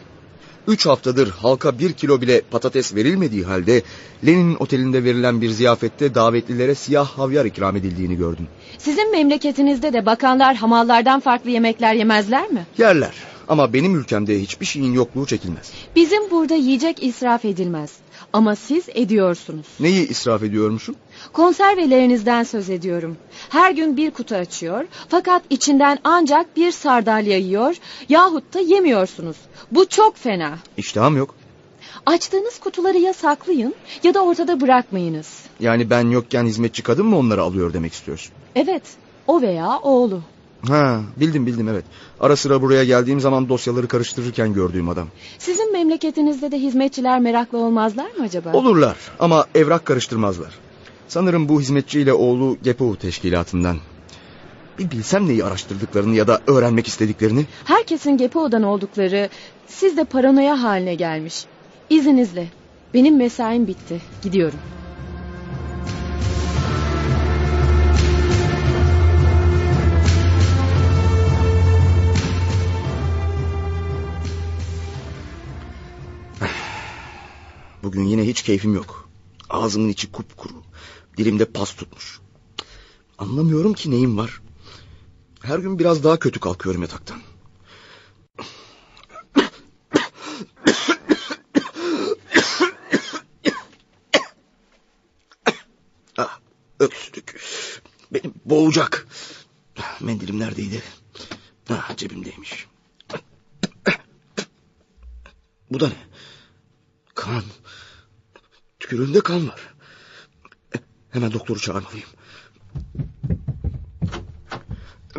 D: Üç haftadır halka bir kilo bile patates verilmediği halde Lenin otelinde verilen bir ziyafette davetlilere siyah havyar ikram edildiğini gördüm.
C: Sizin memleketinizde de bakanlar hamallardan farklı yemekler yemezler mi?
D: Yerler ama benim ülkemde hiçbir şeyin yokluğu çekilmez.
C: Bizim burada yiyecek israf edilmez. Ama siz ediyorsunuz.
D: Neyi israf ediyormuşum?
C: Konservelerinizden söz ediyorum. Her gün bir kutu açıyor fakat içinden ancak bir sardalya yiyor yahut da yemiyorsunuz. Bu çok fena.
D: İştahım yok.
C: Açtığınız kutuları ya saklayın ya da ortada bırakmayınız.
D: Yani ben yokken hizmetçi kadın mı onları alıyor demek istiyorsun?
C: Evet, o veya oğlu.
D: Ha, bildim bildim evet. Ara sıra buraya geldiğim zaman dosyaları karıştırırken gördüğüm adam.
C: Sizin memleketinizde de hizmetçiler meraklı olmazlar mı acaba?
D: Olurlar ama evrak karıştırmazlar. Sanırım bu hizmetçiyle oğlu Gepo teşkilatından. Bir bilsem neyi araştırdıklarını ya da öğrenmek istediklerini.
C: Herkesin Gepo'dan oldukları siz de paranoya haline gelmiş. İzninizle benim mesaim bitti. Gidiyorum.
D: Bugün yine hiç keyfim yok. Ağzımın içi kupkuru. Dilimde pas tutmuş. Anlamıyorum ki neyim var. Her gün biraz daha kötü kalkıyorum yataktan. ah, öksürük. Beni boğacak. Mendilim neredeydi? Ah, cebimdeymiş. Bu da ne? Kan. Tükürüğümde kan var. E, Hemen doktoru çağırmalıyım.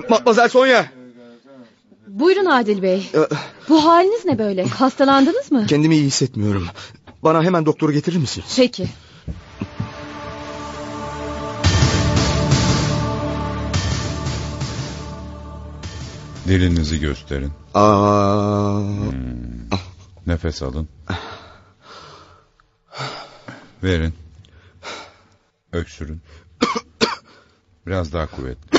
D: Matmazel Sonya.
C: Buyurun Adil Bey.
D: E,
C: Bu haliniz ne böyle? Hastalandınız mı?
D: Kendimi iyi hissetmiyorum. Bana hemen doktoru getirir misiniz?
C: Peki.
E: Dilinizi gösterin.
D: Aa,
E: Nefes alın. Verin. Öksürün. Biraz daha kuvvetli.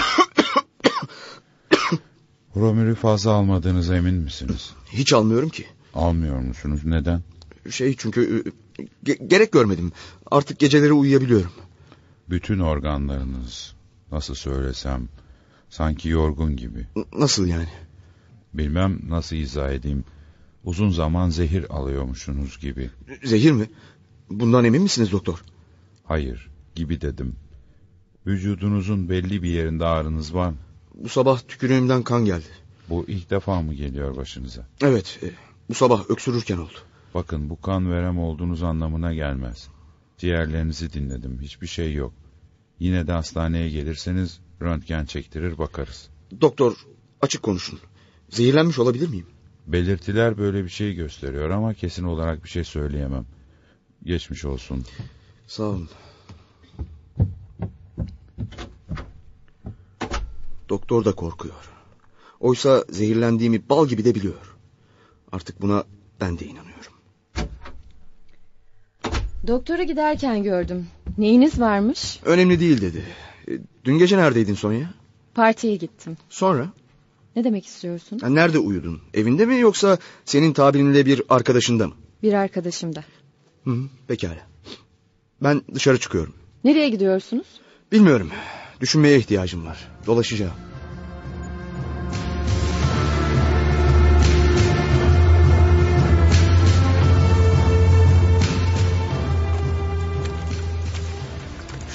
E: Bromürü fazla almadığınıza emin misiniz?
D: hiç almıyorum ki.
E: Almıyor musunuz? Neden?
D: Şey çünkü e, ge- gerek görmedim. Artık geceleri uyuyabiliyorum.
E: Bütün organlarınız nasıl söylesem sanki yorgun gibi.
D: N- Nasıl yani?
E: Bilmem nasıl izah edeyim. Uzun zaman zehir alıyormuşsunuz gibi.
D: Zehir mi? Bundan emin misiniz doktor?
E: Hayır, gibi dedim. Vücudunuzun belli bir yerinde ağrınız var mı?
D: Bu sabah tükürüğümden kan geldi.
E: Bu ilk defa mı geliyor başınıza?
D: Evet, e, bu sabah öksürürken oldu.
E: Bakın bu kan verem olduğunuz anlamına gelmez. Ciğerlerinizi dinledim. Hiçbir şey yok. Yine de hastaneye gelirseniz röntgen çektirir bakarız.
D: Doktor, açık konuşun. Zehirlenmiş olabilir miyim?
E: Belirtiler böyle bir şey gösteriyor ama kesin olarak bir şey söyleyemem. Geçmiş olsun.
D: Sağ olun. Doktor da korkuyor. Oysa zehirlendiğimi bal gibi de biliyor. Artık buna ben de inanıyorum.
C: Doktora giderken gördüm. Neyiniz varmış?
D: Önemli değil dedi. E, Dün gece neredeydin Sonya?
C: Partiye gittim.
D: Sonra?
C: Ne demek istiyorsun?
D: Ha, nerede uyudun? Evinde mi yoksa senin tabirinle bir arkadaşında mı?
C: Bir arkadaşımda.
D: Hı, hı, pekala. Ben dışarı çıkıyorum.
C: Nereye gidiyorsunuz?
D: Bilmiyorum. Düşünmeye ihtiyacım var. Dolaşacağım.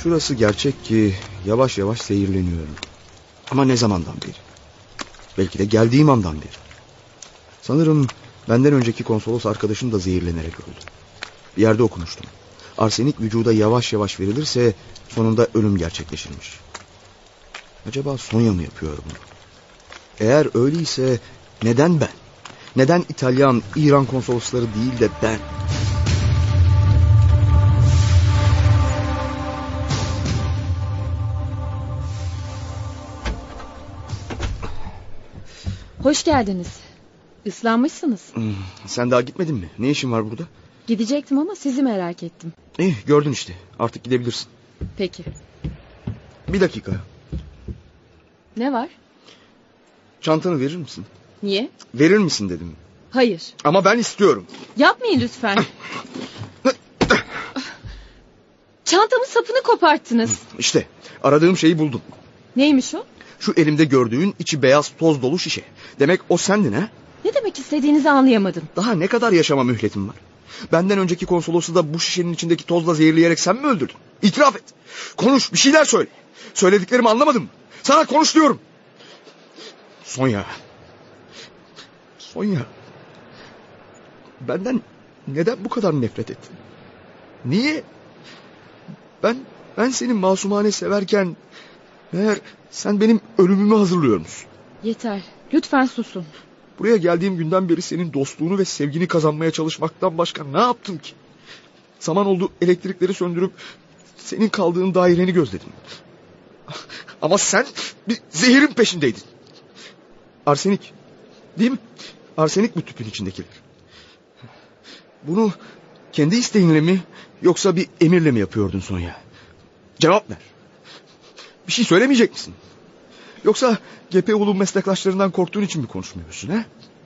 D: Şurası gerçek ki yavaş yavaş seyirleniyorum. Ama ne zamandan beri? Belki de geldiğim andan beri. Sanırım benden önceki konsolos arkadaşım da zehirlenerek öldü. Bir yerde okumuştum. Arsenik vücuda yavaş yavaş verilirse sonunda ölüm gerçekleşirmiş. Acaba Sonya mı yapıyor bunu? Eğer öyleyse neden ben? Neden İtalyan, İran konsolosları değil de ben?
C: Hoş geldiniz. Islanmışsınız.
D: Hmm, Sen daha gitmedin mi? Ne işin var burada?
C: Gidecektim ama sizi merak ettim.
D: İyi gördün işte. Artık gidebilirsin.
C: Peki.
D: Bir dakika.
C: Ne var?
D: Çantanı verir misin?
C: Niye?
D: Verir misin dedim.
C: Hayır.
D: Ama ben istiyorum.
C: Yapmayın lütfen. Çantamın sapını koparttınız.
D: İşte aradığım şeyi buldum.
C: Neymiş o?
D: Şu elimde gördüğün içi beyaz toz dolu şişe. Demek o sendin ha?
C: Ne demek istediğinizi anlayamadım.
D: Daha ne kadar yaşama mühletim var? Benden önceki konsolosu da bu şişenin içindeki tozla zehirleyerek sen mi öldürdün? İtiraf et. Konuş bir şeyler söyle. Söylediklerimi anlamadın mı? Sana konuş diyorum. Sonya. Sonya. Benden neden bu kadar nefret ettin? Niye? Ben ben seni masumane severken meğer sen benim ölümümü hazırlıyor musun?
C: Yeter. Lütfen susun.
D: Buraya geldiğim günden beri senin dostluğunu ve sevgini kazanmaya çalışmaktan başka ne yaptım ki? Zaman oldu elektrikleri söndürüp senin kaldığın daireni gözledim. Ama sen bir zehirin peşindeydin. Arsenik. Değil mi? Arsenik bu tüpün içindekiler. Bunu kendi isteğinle mi yoksa bir emirle mi yapıyordun Sonya? Cevap ver. Bir şey söylemeyecek misin? Yoksa GPU'nun meslektaşlarından korktuğun için mi konuşmuyorsun he? (laughs)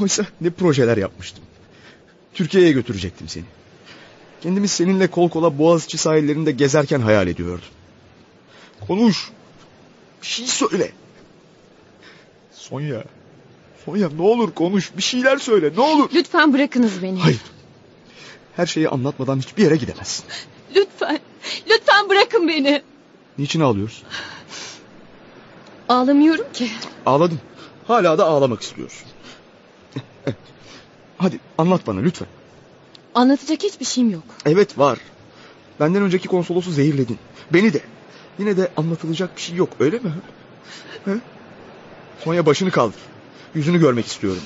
D: Oysa ne projeler yapmıştım. Türkiye'ye götürecektim seni. Kendimiz seninle kol kola Boğaziçi sahillerinde gezerken hayal ediyordum. Konuş. Bir şey söyle. Sonya. Sonya ne olur konuş. Bir şeyler söyle ne olur.
C: Lütfen bırakınız beni.
D: Hayır. Her şeyi anlatmadan hiçbir yere gidemezsin.
C: Lütfen. Lütfen bırakın beni.
D: Niçin ağlıyorsun?
C: Ağlamıyorum ki.
D: Ağladım. Hala da ağlamak istiyorsun. (laughs) Hadi anlat bana lütfen.
C: Anlatacak hiçbir şeyim yok.
D: Evet var. Benden önceki konsolosu zehirledin. Beni de. Yine de anlatılacak bir şey yok öyle mi? He? Sonya başını kaldır. Yüzünü görmek istiyorum.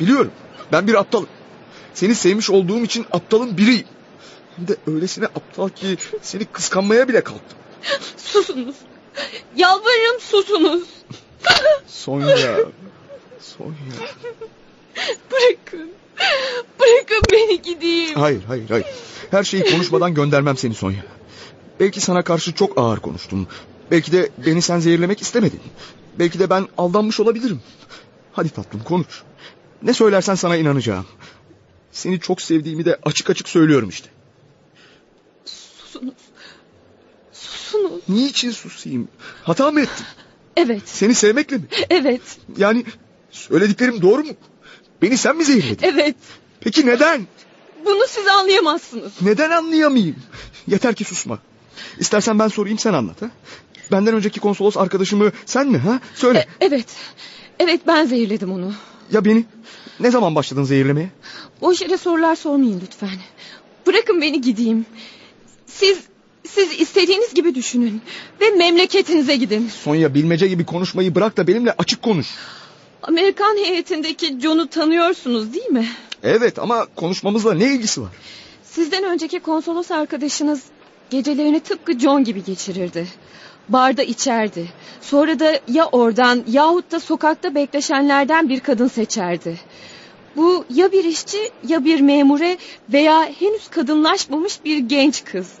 D: Biliyorum. Ben bir aptalım. Seni sevmiş olduğum için aptalın biriyim. Hem de öylesine aptal ki seni kıskanmaya bile kalktım.
C: Susunuz. Yalvarırım susunuz. (laughs)
D: Sonya. Sonya.
C: Bırakın. Bırakın beni gideyim.
D: Hayır hayır hayır. Her şeyi konuşmadan göndermem seni Sonya. Belki sana karşı çok ağır konuştum. Belki de beni sen zehirlemek istemedin. Belki de ben aldanmış olabilirim. Hadi tatlım konuş. Ne söylersen sana inanacağım. Seni çok sevdiğimi de açık açık söylüyorum işte.
C: Susunuz. Susunuz.
D: Niçin susayım? Hata mı ettim?
C: Evet.
D: Seni sevmekle mi?
C: Evet.
D: Yani söylediklerim doğru mu? Beni sen mi zehirledin?
C: Evet.
D: Peki neden?
C: Bunu siz anlayamazsınız.
D: Neden anlayamayayım? Yeter ki susma. İstersen ben sorayım sen anlat ha. Benden önceki konsolos arkadaşımı sen mi ha? Söyle.
C: E- evet. Evet ben zehirledim onu.
D: Ya beni? Ne zaman başladın zehirlemeye?
C: Boş yere sorular sormayın lütfen. Bırakın beni gideyim. Siz siz istediğiniz gibi düşünün ve memleketinize gidin.
D: Sonya bilmece gibi konuşmayı bırak da benimle açık konuş.
C: Amerikan heyetindeki John'u tanıyorsunuz değil mi?
D: Evet ama konuşmamızla ne ilgisi var?
C: Sizden önceki konsolos arkadaşınız gecelerini tıpkı John gibi geçirirdi. Barda içerdi. Sonra da ya oradan yahut da sokakta bekleşenlerden bir kadın seçerdi. Bu ya bir işçi ya bir memure veya henüz kadınlaşmamış bir genç kız.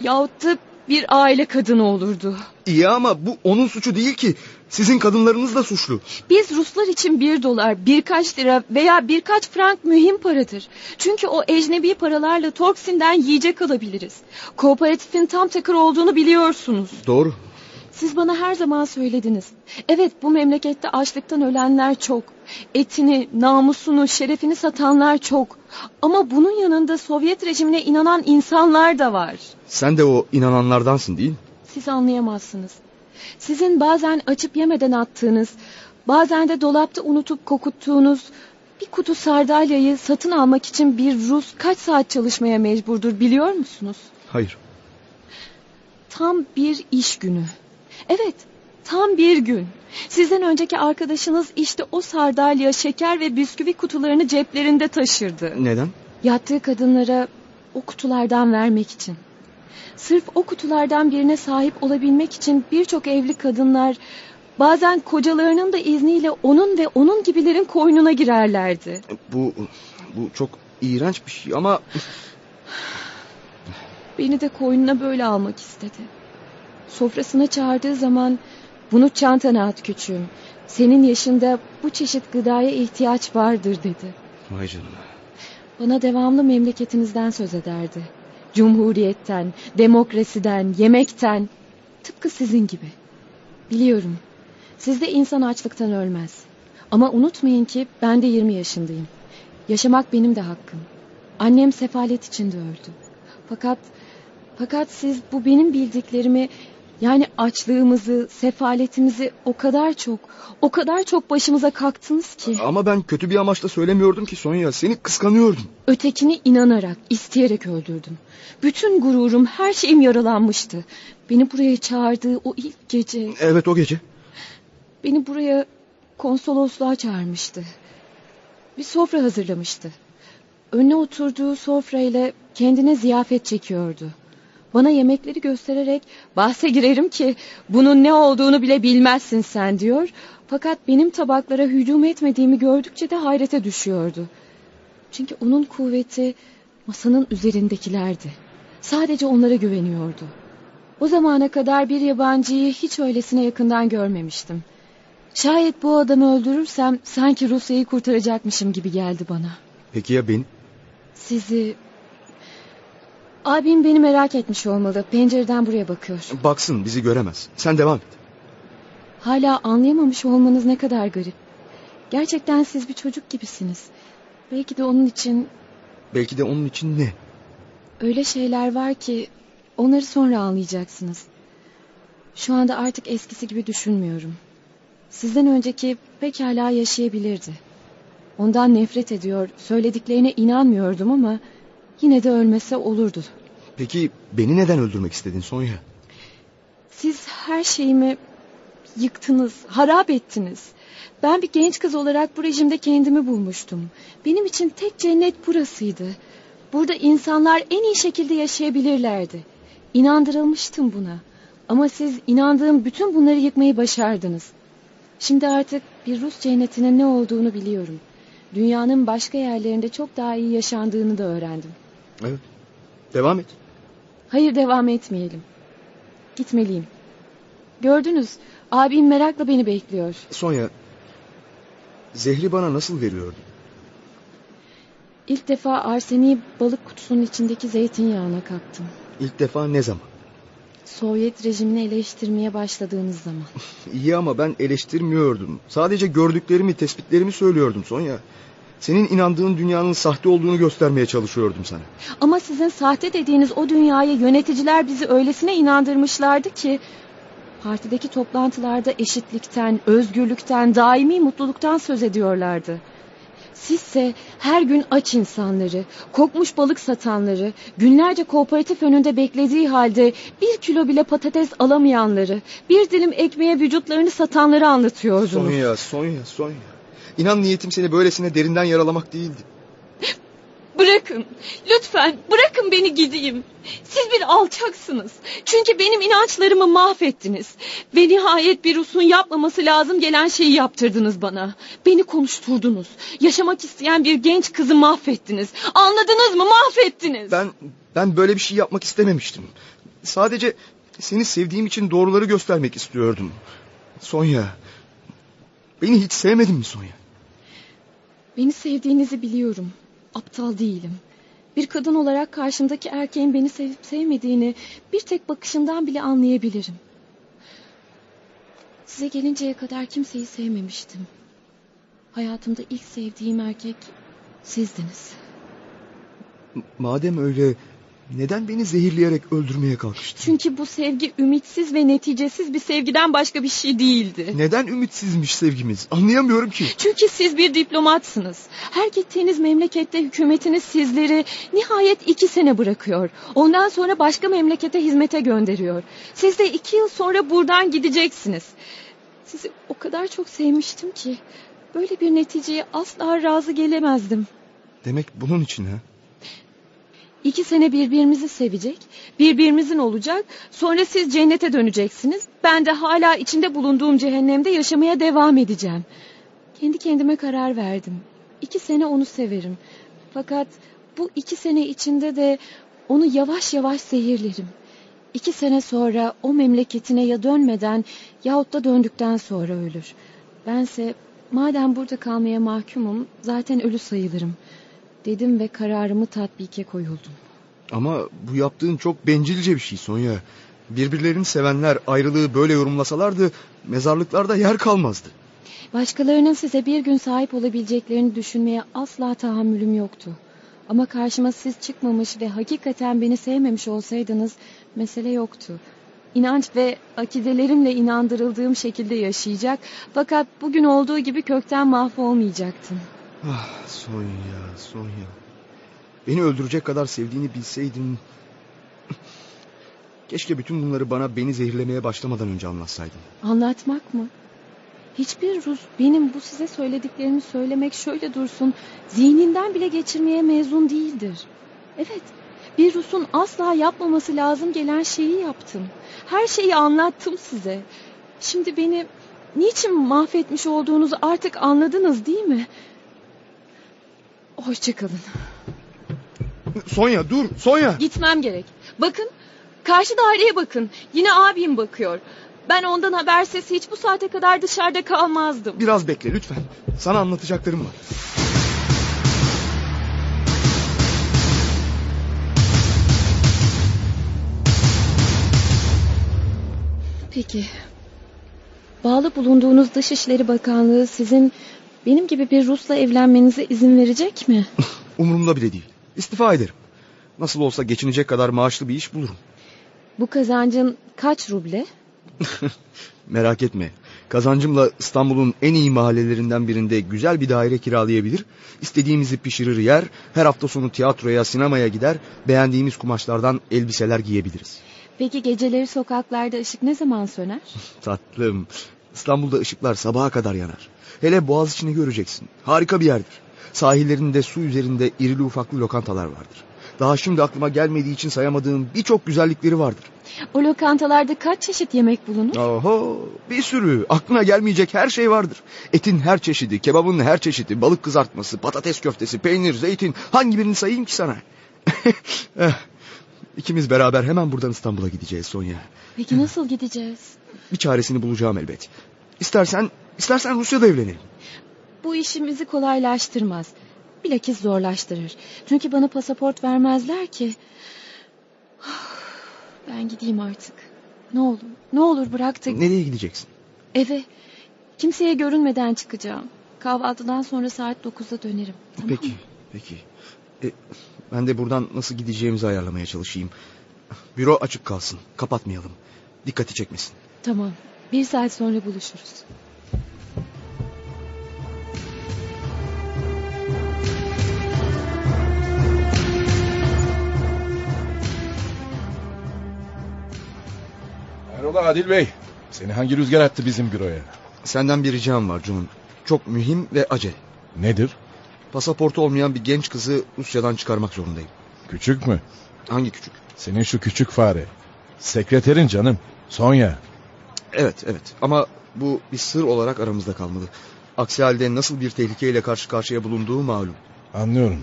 C: Yahut da bir aile kadını olurdu.
D: İyi ama bu onun suçu değil ki. Sizin kadınlarınız da suçlu.
C: Biz Ruslar için bir dolar, birkaç lira veya birkaç frank mühim paradır. Çünkü o ecnebi paralarla Torksin'den yiyecek alabiliriz. Kooperatifin tam takır olduğunu biliyorsunuz.
D: Doğru.
C: Siz bana her zaman söylediniz. Evet bu memlekette açlıktan ölenler çok. Etini, namusunu, şerefini satanlar çok. Ama bunun yanında Sovyet rejimine inanan insanlar da var.
D: Sen de o inananlardansın değil mi?
C: Siz anlayamazsınız. Sizin bazen açıp yemeden attığınız, bazen de dolapta unutup kokuttuğunuz, Bir kutu sardalyayı satın almak için bir Rus kaç saat çalışmaya mecburdur biliyor musunuz?
D: Hayır.
C: Tam bir iş günü. Evet, tam bir gün. Sizden önceki arkadaşınız işte o sardalya, şeker ve bisküvi kutularını ceplerinde taşırdı.
D: Neden?
C: Yattığı kadınlara o kutulardan vermek için. Sırf o kutulardan birine sahip olabilmek için birçok evli kadınlar bazen kocalarının da izniyle onun ve onun gibilerin koynuna girerlerdi.
D: Bu bu çok iğrenç bir şey ama
C: Beni de koynuna böyle almak istedi. Sofrasına çağırdığı zaman bunu çantana at küçüğüm. Senin yaşında bu çeşit gıdaya ihtiyaç vardır dedi.
D: vay canına.
C: Bana devamlı memleketinizden söz ederdi. Cumhuriyetten, demokrasiden, yemekten. Tıpkı sizin gibi. Biliyorum. Sizde insan açlıktan ölmez. Ama unutmayın ki ben de 20 yaşındayım. Yaşamak benim de hakkım. Annem sefalet içinde öldü. Fakat fakat siz bu benim bildiklerimi yani açlığımızı, sefaletimizi o kadar çok, o kadar çok başımıza kaktınız ki.
D: Ama ben kötü bir amaçla söylemiyordum ki Sonya. Seni kıskanıyordum.
C: Ötekini inanarak, isteyerek öldürdüm. Bütün gururum, her şeyim yaralanmıştı. Beni buraya çağırdığı o ilk gece,
D: Evet o gece.
C: beni buraya konsolosluğa çağırmıştı. Bir sofra hazırlamıştı. Önüne oturduğu sofrayla kendine ziyafet çekiyordu. Bana yemekleri göstererek bahse girerim ki bunun ne olduğunu bile bilmezsin sen diyor. Fakat benim tabaklara hücum etmediğimi gördükçe de hayrete düşüyordu. Çünkü onun kuvveti masanın üzerindekilerdi. Sadece onlara güveniyordu. O zamana kadar bir yabancıyı hiç öylesine yakından görmemiştim. Şayet bu adamı öldürürsem sanki Rusya'yı kurtaracakmışım gibi geldi bana.
D: Peki ya beni?
C: Sizi... Abim beni merak etmiş olmalı. Pencereden buraya bakıyor.
D: Baksın bizi göremez. Sen devam et.
C: Hala anlayamamış olmanız ne kadar garip. Gerçekten siz bir çocuk gibisiniz. Belki de onun için
D: Belki de onun için ne?
C: öyle şeyler var ki onları sonra anlayacaksınız. Şu anda artık eskisi gibi düşünmüyorum. Sizden önceki pekala yaşayabilirdi. Ondan nefret ediyor, söylediklerine inanmıyordum ama yine de ölmese olurdu.
D: Peki beni neden öldürmek istedin Sonya?
C: Siz her şeyimi yıktınız, harap ettiniz. Ben bir genç kız olarak bu rejimde kendimi bulmuştum. Benim için tek cennet burasıydı. Burada insanlar en iyi şekilde yaşayabilirlerdi. İnandırılmıştım buna. Ama siz inandığım bütün bunları yıkmayı başardınız. Şimdi artık bir Rus cennetinin ne olduğunu biliyorum. Dünyanın başka yerlerinde çok daha iyi yaşandığını da öğrendim.
D: Evet. Devam et.
C: Hayır devam etmeyelim. Gitmeliyim. Gördünüz abim merakla beni bekliyor.
D: Sonya, zehri bana nasıl veriyordu?
C: İlk defa arseniği balık kutusunun içindeki zeytinyağına kattım.
D: İlk defa ne zaman?
C: Sovyet rejimini eleştirmeye başladığınız zaman.
D: İyi ama ben eleştirmiyordum. Sadece gördüklerimi, tespitlerimi söylüyordum Sonya. Senin inandığın dünyanın sahte olduğunu göstermeye çalışıyordum sana.
C: Ama sizin sahte dediğiniz o dünyaya yöneticiler bizi öylesine inandırmışlardı ki... ...partideki toplantılarda eşitlikten, özgürlükten, daimi mutluluktan söz ediyorlardı. Sizse her gün aç insanları, kokmuş balık satanları, günlerce kooperatif önünde beklediği halde bir kilo bile patates alamayanları, bir dilim ekmeğe vücutlarını satanları anlatıyordunuz.
D: Sonya, Sonya, Sonya. İnan niyetim seni böylesine derinden yaralamak değildi.
C: Bırakın, lütfen bırakın beni gideyim. Siz bir alçaksınız. Çünkü benim inançlarımı mahvettiniz. Ve nihayet bir Rus'un yapmaması lazım gelen şeyi yaptırdınız bana. Beni konuşturdunuz. Yaşamak isteyen bir genç kızı mahvettiniz. Anladınız mı? Mahvettiniz.
D: Ben ben böyle bir şey yapmak istememiştim. Sadece seni sevdiğim için doğruları göstermek istiyordum. Sonya, beni hiç sevmedin mi Sonya?
C: Beni sevdiğinizi biliyorum. Aptal değilim. Bir kadın olarak karşımdaki erkeğin beni sevip sevmediğini bir tek bakışından bile anlayabilirim. Size gelinceye kadar kimseyi sevmemiştim. Hayatımda ilk sevdiğim erkek sizdiniz.
D: Madem öyle Neden beni zehirleyerek öldürmeye kalkıştın?
C: Çünkü bu sevgi ümitsiz ve neticesiz bir sevgiden başka bir şey değildi.
D: Neden ümitsizmiş sevgimiz? Anlayamıyorum ki.
C: Çünkü siz bir diplomatsınız. Her gittiğiniz memlekette hükümetiniz sizleri nihayet iki sene bırakıyor. Ondan sonra başka memlekete hizmete gönderiyor. Siz de iki yıl sonra buradan gideceksiniz. Sizi o kadar çok sevmiştim ki böyle bir neticeye asla razı gelemezdim.
D: Demek bunun için ha?
C: İki sene birbirimizi sevecek, birbirimizin olacak. Sonra siz cennete döneceksiniz. Ben de hala içinde bulunduğum cehennemde yaşamaya devam edeceğim. Kendi kendime karar verdim. İki sene onu severim. Fakat bu iki sene içinde de onu yavaş yavaş zehirlerim. İki sene sonra o memleketine ya dönmeden yahut da döndükten sonra ölür. Bense madem burada kalmaya mahkumum zaten ölü sayılırım dedim ve kararımı tatbike koyuldum.
D: Ama bu yaptığın çok bencilce bir şey Sonya. Birbirlerini sevenler ayrılığı böyle yorumlasalardı mezarlıklarda yer kalmazdı.
C: Başkalarının size bir gün sahip olabileceklerini düşünmeye asla tahammülüm yoktu. Ama karşıma siz çıkmamış ve hakikaten beni sevmemiş olsaydınız mesele yoktu. İnanç ve akidelerimle inandırıldığım şekilde yaşayacak fakat bugün olduğu gibi kökten mahvolmayacaktım.
D: Ah Sonya, Sonya. Beni öldürecek kadar sevdiğini bilseydim... Keşke bütün bunları bana beni zehirlemeye başlamadan önce anlatsaydın.
C: Anlatmak mı? Hiçbir Rus benim bu size söylediklerimi söylemek şöyle dursun zihninden bile geçirmeye mezun değildir. Evet bir Rus'un asla yapmaması lazım gelen şeyi yaptım. Her şeyi anlattım size. Şimdi beni niçin mahvetmiş olduğunuzu artık anladınız değil mi? Hoşçakalın.
D: Sonya dur, Sonya.
C: Gitmem gerek. Bakın, karşı daireye bakın. Yine abim bakıyor. Ben ondan habersiz hiç bu saate kadar dışarıda kalmazdım.
D: Biraz bekle lütfen. Sana anlatacaklarım var.
C: Peki. Bağlı bulunduğunuz Dışişleri Bakanlığı sizin benim gibi bir Rus'la evlenmenize izin verecek mi?
D: Umurumda bile değil. İstifa ederim. Nasıl olsa geçinecek kadar maaşlı bir iş bulurum.
C: Bu kazancın kaç ruble?
D: Merak etme. Kazancımla İstanbul'un en iyi mahallelerinden birinde güzel bir daire kiralayabilir, istediğimizi pişirir yer, her hafta sonu tiyatroya, sinemaya gider, beğendiğimiz kumaşlardan elbiseler giyebiliriz.
C: Peki geceleri sokaklarda ışık ne zaman söner?
D: Tatlım, İstanbul'da ışıklar sabaha kadar yanar. Hele Boğaziçi'ni göreceksin. Harika bir yerdir. Sahillerinde su üzerinde irili ufaklı lokantalar vardır. Daha şimdi aklıma gelmediği için sayamadığım birçok güzellikleri vardır.
C: O lokantalarda kaç çeşit yemek bulunur?
D: Oho bir sürü aklına gelmeyecek her şey vardır. Etin her çeşidi, kebabın her çeşidi, balık kızartması, patates köftesi, peynir, zeytin hangi birini sayayım ki sana? (laughs) Eh, İkimiz beraber hemen buradan İstanbul'a gideceğiz Sonya.
C: Peki nasıl gideceğiz?
D: Bir çaresini bulacağım elbet. İstersen, istersen Rusya'da evlenelim.
C: Bu işimizi kolaylaştırmaz. Bilakis zorlaştırır. Çünkü bana pasaport vermezler ki. (sighs) Ben gideyim artık. Ne olur, ne olur bırak da
D: Nereye gideceksin?
C: eve. Kimseye görünmeden çıkacağım. Kahvaltıdan sonra saat 9'da dönerim. Tamam mı?
D: Peki, peki. E, ben de buradan nasıl gideceğimizi ayarlamaya çalışayım. Büro açık kalsın, kapatmayalım. Dikkati çekmesin.
C: Tamam. Bir saat sonra buluşuruz.
A: Hayrola Adil Bey? Seni hangi rüzgar attı bizim büroya?
D: Senden bir ricam var Cun. Çok mühim ve acele.
A: Nedir?
D: Pasaportu olmayan bir genç kızı Rusya'dan çıkarmak zorundayım.
A: Küçük mü?
D: Hangi küçük?
A: Senin şu küçük fare. Sekreterin canım. Sonya.
D: Evet, evet. Ama bu bir sır olarak aramızda kalmalı. Aksi halde nasıl bir tehlikeyle karşı karşıya bulunduğu malum.
A: Anlıyorum.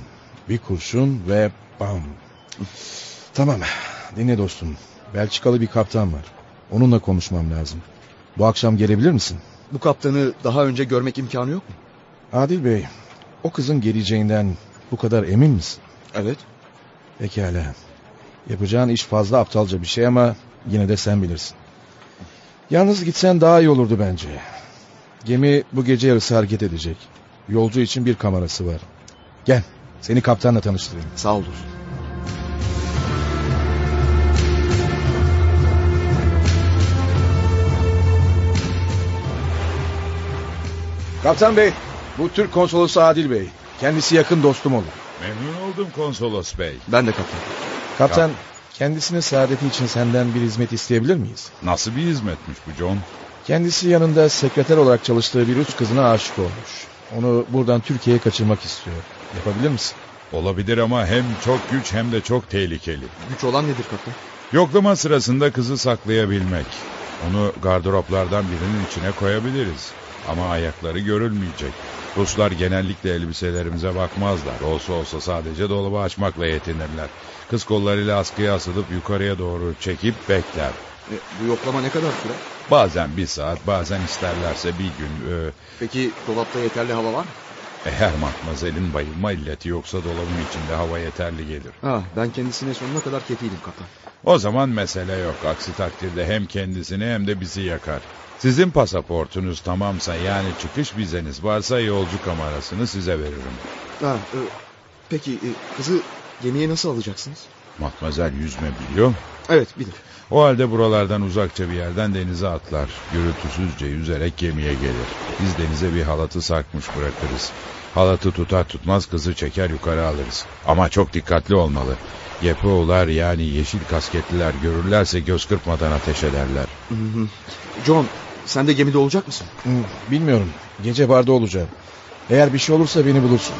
A: Bir kurşun ve bam. Tamam. Dinle dostum. Belçikalı bir kaptan var. Onunla konuşmam lazım. Bu akşam gelebilir misin?
D: Bu kaptanı daha önce görmek imkanı yok mu?
A: Adil Bey, o kızın geleceğinden bu kadar emin misin?
D: Evet.
A: Pekala. Yapacağın iş fazla aptalca bir şey ama yine de sen bilirsin. Yalnız gitsen daha iyi olurdu bence. Gemi bu gece yarısı hareket edecek. Yolcu için bir kamerası var. Gel, seni kaptanla tanıştırayım.
D: Sağ ol dostum.
A: Kaptan bey, bu Türk konsolosu Adil bey. Kendisi yakın dostum olur.
E: Memnun oldum konsolos bey.
D: Ben de kaptan.
A: Kaptan, kendisinin saadeti için senden bir hizmet isteyebilir miyiz?
E: Nasıl bir hizmetmiş bu John?
A: Kendisi yanında sekreter olarak çalıştığı bir Rus kızına aşık olmuş. Onu buradan Türkiye'ye kaçırmak istiyor. Yapabilir misin?
E: Olabilir ama hem çok güç hem de çok tehlikeli.
D: Güç olan nedir kaptan?
E: Yoklama sırasında kızı saklayabilmek. Onu gardıroplardan birinin içine koyabiliriz. Ama ayakları görülmeyecek. Ruslar genellikle elbiselerimize bakmazlar. Olsa olsa sadece dolabı açmakla yetinirler. Kız kollarıyla askıya asılıp yukarıya doğru çekip bekler.
D: E, bu yoklama ne kadar sürer?
E: Bazen bir saat, bazen isterlerse bir gün. e,
D: Peki dolapta yeterli hava var mı?
E: eğer matmazelin bayılma illeti yoksa dolabın içinde hava yeterli gelir.
D: Ha, ben kendisine sonuna kadar kediydim kaptan.
E: O zaman mesele yok. Aksi takdirde hem kendisini hem de bizi yakar. Sizin pasaportunuz tamamsa yani çıkış vizeniz varsa yolcu kamerasını size veririm.
D: Ha, e, peki e, kızı gemiye nasıl alacaksınız?
E: Matmazel yüzme biliyor.
D: Evet bilir.
E: O halde buralardan uzakça bir yerden denize atlar. Gürültüsüzce yüzerek gemiye gelir. Biz denize bir halatı sarkmış bırakırız. Halatı tutar tutmaz kızı çeker yukarı alırız. Ama çok dikkatli olmalı. Yepoğular yani yeşil kasketliler görürlerse göz kırpmadan ateş ederler.
D: Hı hı. John sen de gemide olacak mısın?
A: Hmm, Bilmiyorum. Gece barda olacağım. Eğer bir şey olursa beni bulursun.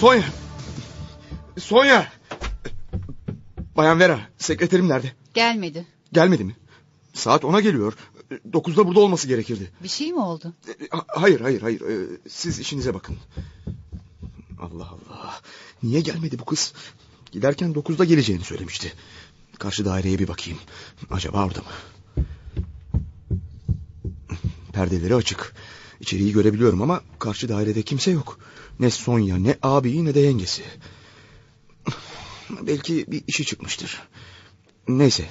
D: Sonya! Sonya! Bayan Vera sekreterim nerede?
F: Gelmedi.
D: Gelmedi mi? Saat ona geliyor. E, Dokuzda burada olması gerekirdi.
F: Bir şey mi oldu?
D: E, ha- Hayır hayır hayır. E, Siz işinize bakın. Allah Allah. Niye gelmedi bu kız? Giderken dokuzda geleceğini söylemişti. Karşı daireye bir bakayım. Acaba orada mı? Perdeleri açık. İçeriği görebiliyorum ama karşı dairede kimse yok. Ne Sonya ne abi ne de yengesi. Belki bir işi çıkmıştır. Neyse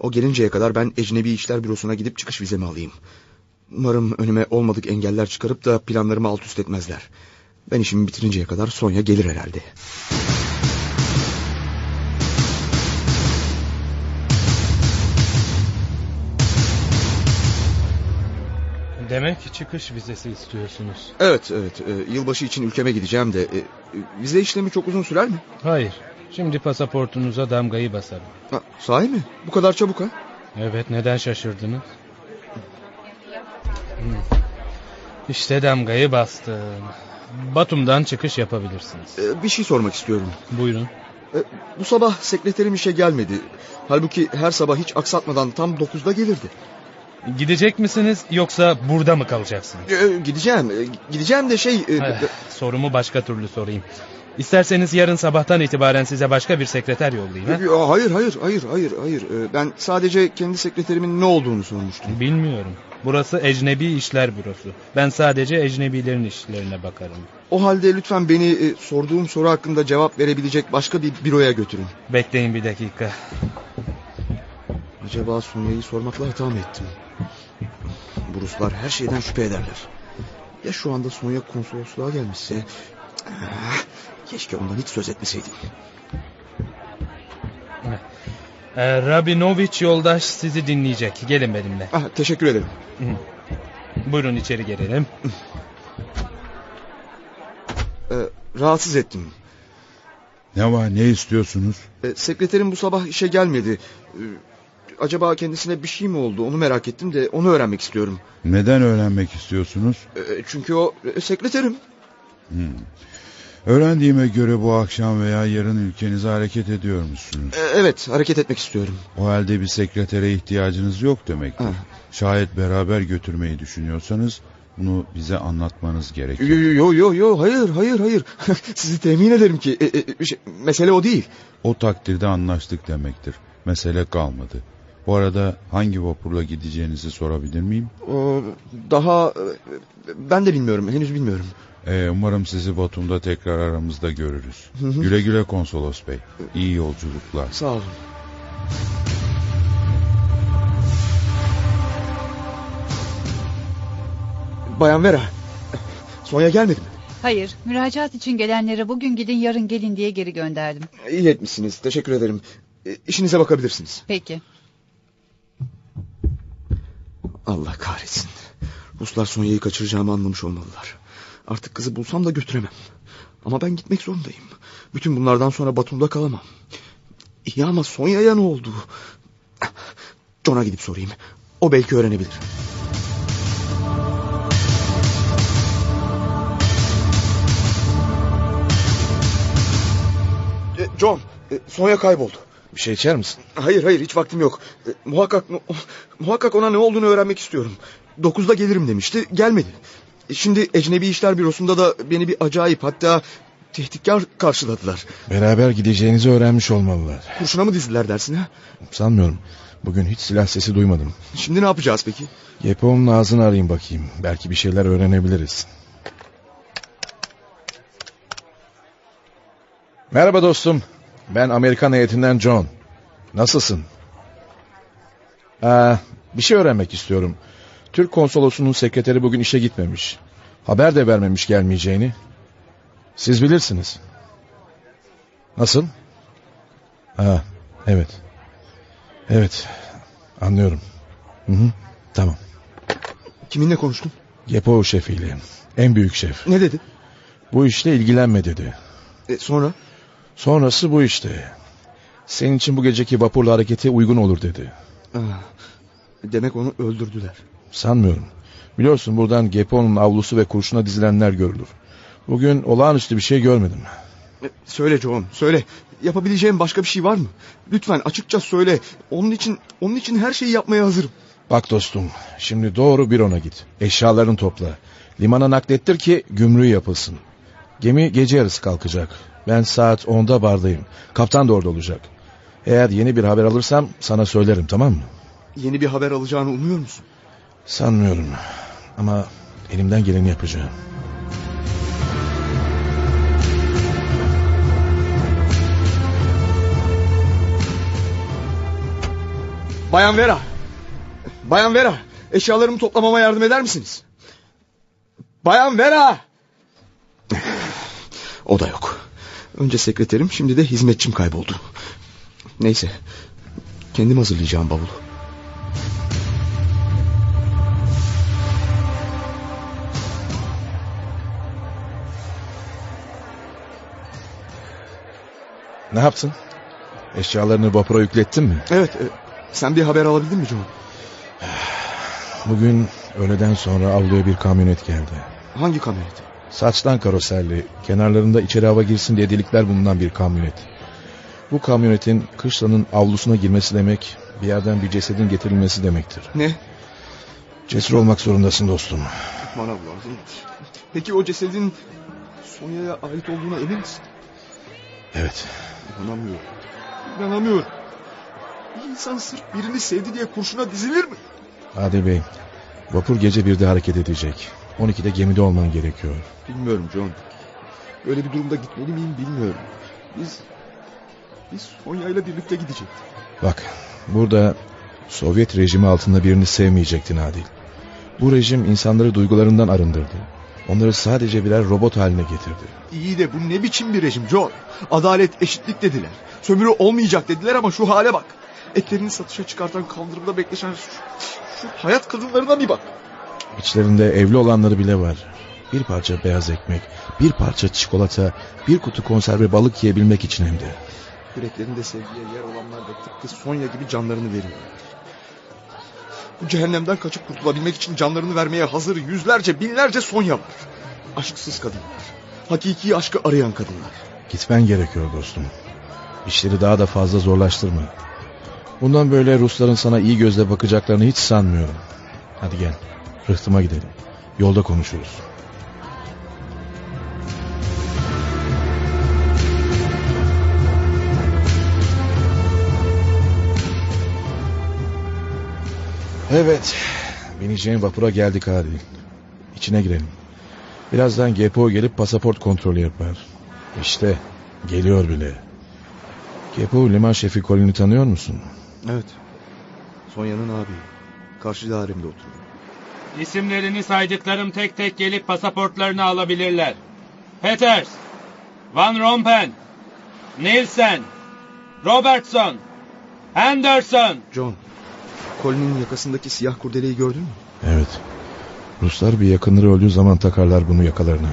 D: o gelinceye kadar ben Ecnebi İşler Bürosu'na gidip çıkış vizemi alayım. Umarım önüme olmadık engeller çıkarıp da planlarımı alt üst etmezler. Ben işimi bitirinceye kadar Sonya gelir herhalde.
I: Demek çıkış vizesi istiyorsunuz.
D: Evet evet e, yılbaşı için ülkeme gideceğim de e, e, vize işlemi çok uzun sürer mi?
I: Hayır. Şimdi pasaportunuza damgayı basarım.
D: Ha, sahi mi? Bu kadar çabuk ha?
I: Evet neden şaşırdınız? Hmm. İşte damgayı bastım. Batum'dan çıkış yapabilirsiniz.
D: E, bir şey sormak istiyorum.
I: Buyurun.
D: E, bu sabah sekreterim işe gelmedi. Halbuki her sabah hiç aksatmadan tam 9'da gelirdi.
I: Gidecek misiniz yoksa burada mı kalacaksınız?
D: E, gideceğim. e, gideceğim de şey... e,
I: Eh, sorumu başka türlü sorayım. İsterseniz yarın sabahtan itibaren size başka bir sekreter yollayayım. ha?
D: e, hayır hayır hayır hayır hayır. E, ben sadece kendi sekreterimin ne olduğunu sormuştum.
I: Bilmiyorum. Burası ecnebi işler bürosu. Ben sadece ecnebilerin işlerine bakarım.
D: O halde lütfen beni e, sorduğum soru hakkında cevap verebilecek başka bir büroya götürün.
I: Bekleyin bir dakika.
D: Acaba Sonya'yı sormakla hata mı ettim? Bu Ruslar her şeyden şüphe ederler. Ya şu anda Sonya konsolosluğa gelmişse... Ah, Keşke ondan hiç söz etmeseydim.
I: Eh, Rabinovich yoldaş sizi dinleyecek. Gelin benimle.
D: Ah, teşekkür ederim.
I: Buyurun içeri gelelim.
D: Ee, rahatsız ettim.
E: Ne var ne istiyorsunuz?
D: Ee, sekreterim bu sabah işe gelmedi. Ee, acaba kendisine bir şey mi oldu onu merak ettim de onu öğrenmek istiyorum.
E: Neden öğrenmek istiyorsunuz?
D: Ee, çünkü o e, sekreterim.
E: Öğrendiğime göre bu akşam veya yarın ülkenize hareket ediyormuşsunuz.
D: Ee, evet hareket etmek istiyorum.
E: O halde bir sekretere ihtiyacınız yok demektir.
D: Ha.
E: Şayet beraber götürmeyi düşünüyorsanız bunu bize anlatmanız gerekir.
D: Yo yo yo yo yo hayır hayır hayır. (laughs) Sizi temin ederim ki e, e, şey, mesele o değil.
E: O takdirde anlaştık demektir. Mesele kalmadı. Bu arada hangi vapurla gideceğinizi sorabilir miyim?
D: Ee, daha e, ben de bilmiyorum henüz bilmiyorum.
E: Ee, umarım sizi Batum'da tekrar aramızda görürüz. Güle güle konsolos bey. İyi yolculuklar.
D: Sağ olun. Bayan Vera. Sonya gelmedi mi?
F: Hayır, müracaat için gelenlere bugün gidin yarın gelin diye geri gönderdim.
D: İyi etmişsiniz. Teşekkür ederim. E, İşinize bakabilirsiniz.
F: Peki.
D: Allah kahretsin. Ruslar Sonya'yı kaçıracağımı anlamış olmalılar. Artık kızı bulsam da götüremem. Ama ben gitmek zorundayım. Bütün bunlardan sonra Batum'da kalamam. İyi ama Sonya'ya ne oldu? John'a gidip sorayım. O belki öğrenebilir. E, John, e, Sonya kayboldu.
E: Bir şey içer misin?
D: Hayır hayır hiç vaktim yok. E, muhakkak muhakkak ona ne olduğunu öğrenmek istiyorum. Dokuzda gelirim demişti gelmedi. E, Şimdi Ecnebi İşler Bürosu'nda da beni bir acayip hatta tehditkar karşıladılar.
E: Beraber gideceğinizi öğrenmiş olmalılar.
D: Kurşuna mı dizdiler dersin ha?
E: Sanmıyorum. Bugün hiç silah sesi duymadım.
D: Şimdi ne yapacağız peki?
E: Yepo'nun ağzını arayayım bakayım. Belki bir şeyler öğrenebiliriz. Merhaba dostum. Ben Amerikan heyetinden John. Nasılsın? Aa, bir şey öğrenmek istiyorum. Türk konsolosunun sekreteri bugün işe gitmemiş. Haber de vermemiş gelmeyeceğini. Siz bilirsiniz. Nasıl? Aa, evet. Evet. Anlıyorum. Hı hı, Tamam.
D: Kiminle konuştun?
E: Gepo şefiyle. En büyük şef.
D: Ne dedi?
E: Bu işle ilgilenme dedi.
D: E, sonra?
E: Sonrası bu işte. Senin için bu geceki vapurla harekete uygun olur dedi.
D: Ah, demek onu öldürdüler.
E: Sanmıyorum. Biliyorsun buradan Gepo'nun avlusu ve kurşuna dizilenler görülür. Bugün olağanüstü bir şey görmedim.
D: E, Söyle John, söyle. Yapabileceğim başka bir şey var mı? Lütfen açıkça söyle. Onun için onun için her şeyi yapmaya hazırım.
E: Bak dostum, şimdi doğru bir ona git. Eşyalarını topla. Limana naklettir ki gümrüğü yapılsın. Gemi gece yarısı kalkacak. Ben saat 10'da bardayım. Kaptan da orada olacak. Eğer yeni bir haber alırsam sana söylerim tamam mı?
D: Yeni bir haber alacağını umuyor musun?
E: Sanmıyorum. Ama elimden geleni yapacağım.
D: Bayan Vera. Bayan Vera, eşyalarımı toplamama yardım eder misiniz? Bayan Vera. (sighs) O da yok. Önce sekreterim, şimdi de hizmetçim kayboldu. Neyse. Kendim hazırlayacağım bavulu.
E: Ne yaptın? Eşyalarını vapura yüklettin mi?
D: Evet, e, sen bir haber alabildin mi John?
E: Bugün öğleden sonra avluya bir kamyonet geldi.
D: Hangi kamyonet?
E: Saçtan karoserli, kenarlarında içeri hava girsin diye delikler bulunan bir kamyonet. Bu kamyonetin kışlanın avlusuna girmesi demek, bir yerden bir cesedin getirilmesi demektir.
D: Ne?
E: Cesur olmak zorundasın dostum.
D: Bana bulardın. Peki o cesedin Sonya'ya ait olduğuna emin misin?
E: Evet,
D: İnanamıyorum. İnanamıyorum. Bir insan sırf birini sevdi diye kurşuna dizilir mi?
E: Adil Bey, vapur gece birde hareket edecek. 12'de gemide olman gerekiyor.
D: Bilmiyorum John. Böyle bir durumda gitmeli miyim bilmiyorum. Biz... Biz Sonya'yla birlikte gidecektik.
E: Bak, burada Sovyet rejimi altında birini sevmeyecektin Adil. Bu rejim insanları duygularından arındırdı. Onları sadece birer robot haline getirdi.
D: İyi de bu ne biçim bir rejim John? Adalet, eşitlik dediler. Sömürü olmayacak dediler ama şu hale bak. Etlerini satışa çıkartan kaldırımda bekleşen şu, şu hayat kadınlarına bir bak.
E: İçlerinde evli olanları bile var. Bir parça beyaz ekmek, bir parça çikolata, bir kutu konserve balık yiyebilmek için hem de.
D: Yüreklerinde sevgiye yer olanlar da tıpkı Sonya gibi canlarını veriyor. Bu cehennemden kaçıp kurtulabilmek için canlarını vermeye hazır yüzlerce binlerce Sonya var. Aşksız kadınlar. Hakiki aşkı arayan kadınlar.
E: Gitmen gerekiyor dostum. İşleri daha da fazla zorlaştırma. Bundan böyle Rusların sana iyi gözle bakacaklarını hiç sanmıyorum. Hadi gel, rıhtıma gidelim. Yolda konuşuruz. Evet, bineceğin vapura geldik hadi. İçine girelim. Birazdan GPO gelip pasaport kontrolü yapar. İşte geliyor bile. GPO liman şefi Colin'i tanıyor musun?
D: Evet. Sonya'nın abi. Karşı dairemde oturuyor.
I: İsimlerini saydıklarım tek tek gelip pasaportlarını alabilirler. Peters, Van Rompen, Nielsen, Robertson, Henderson.
D: John. Kolinin yakasındaki siyah kurdeleyi gördün mü?
E: Evet. Ruslar bir yakınları öldüğü zaman takarlar bunu yakalarına.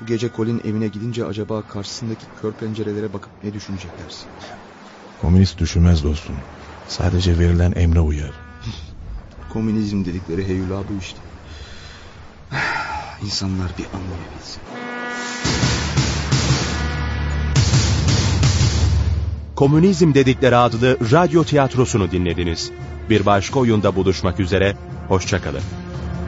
D: Bu gece Colin evine gidince acaba karşısındaki kör pencerelere bakıp ne düşünecek dersin?
E: Komünist düşünmez dostum. Sadece verilen emre uyar.
D: Komünizm dedikleri heyula bu işte. (sighs) İnsanlar bir anlayabilsin.
B: Komünizm dedikleri adlı radyo tiyatrosunu dinlediniz. Bir başka oyunda buluşmak üzere, hoşçakalın.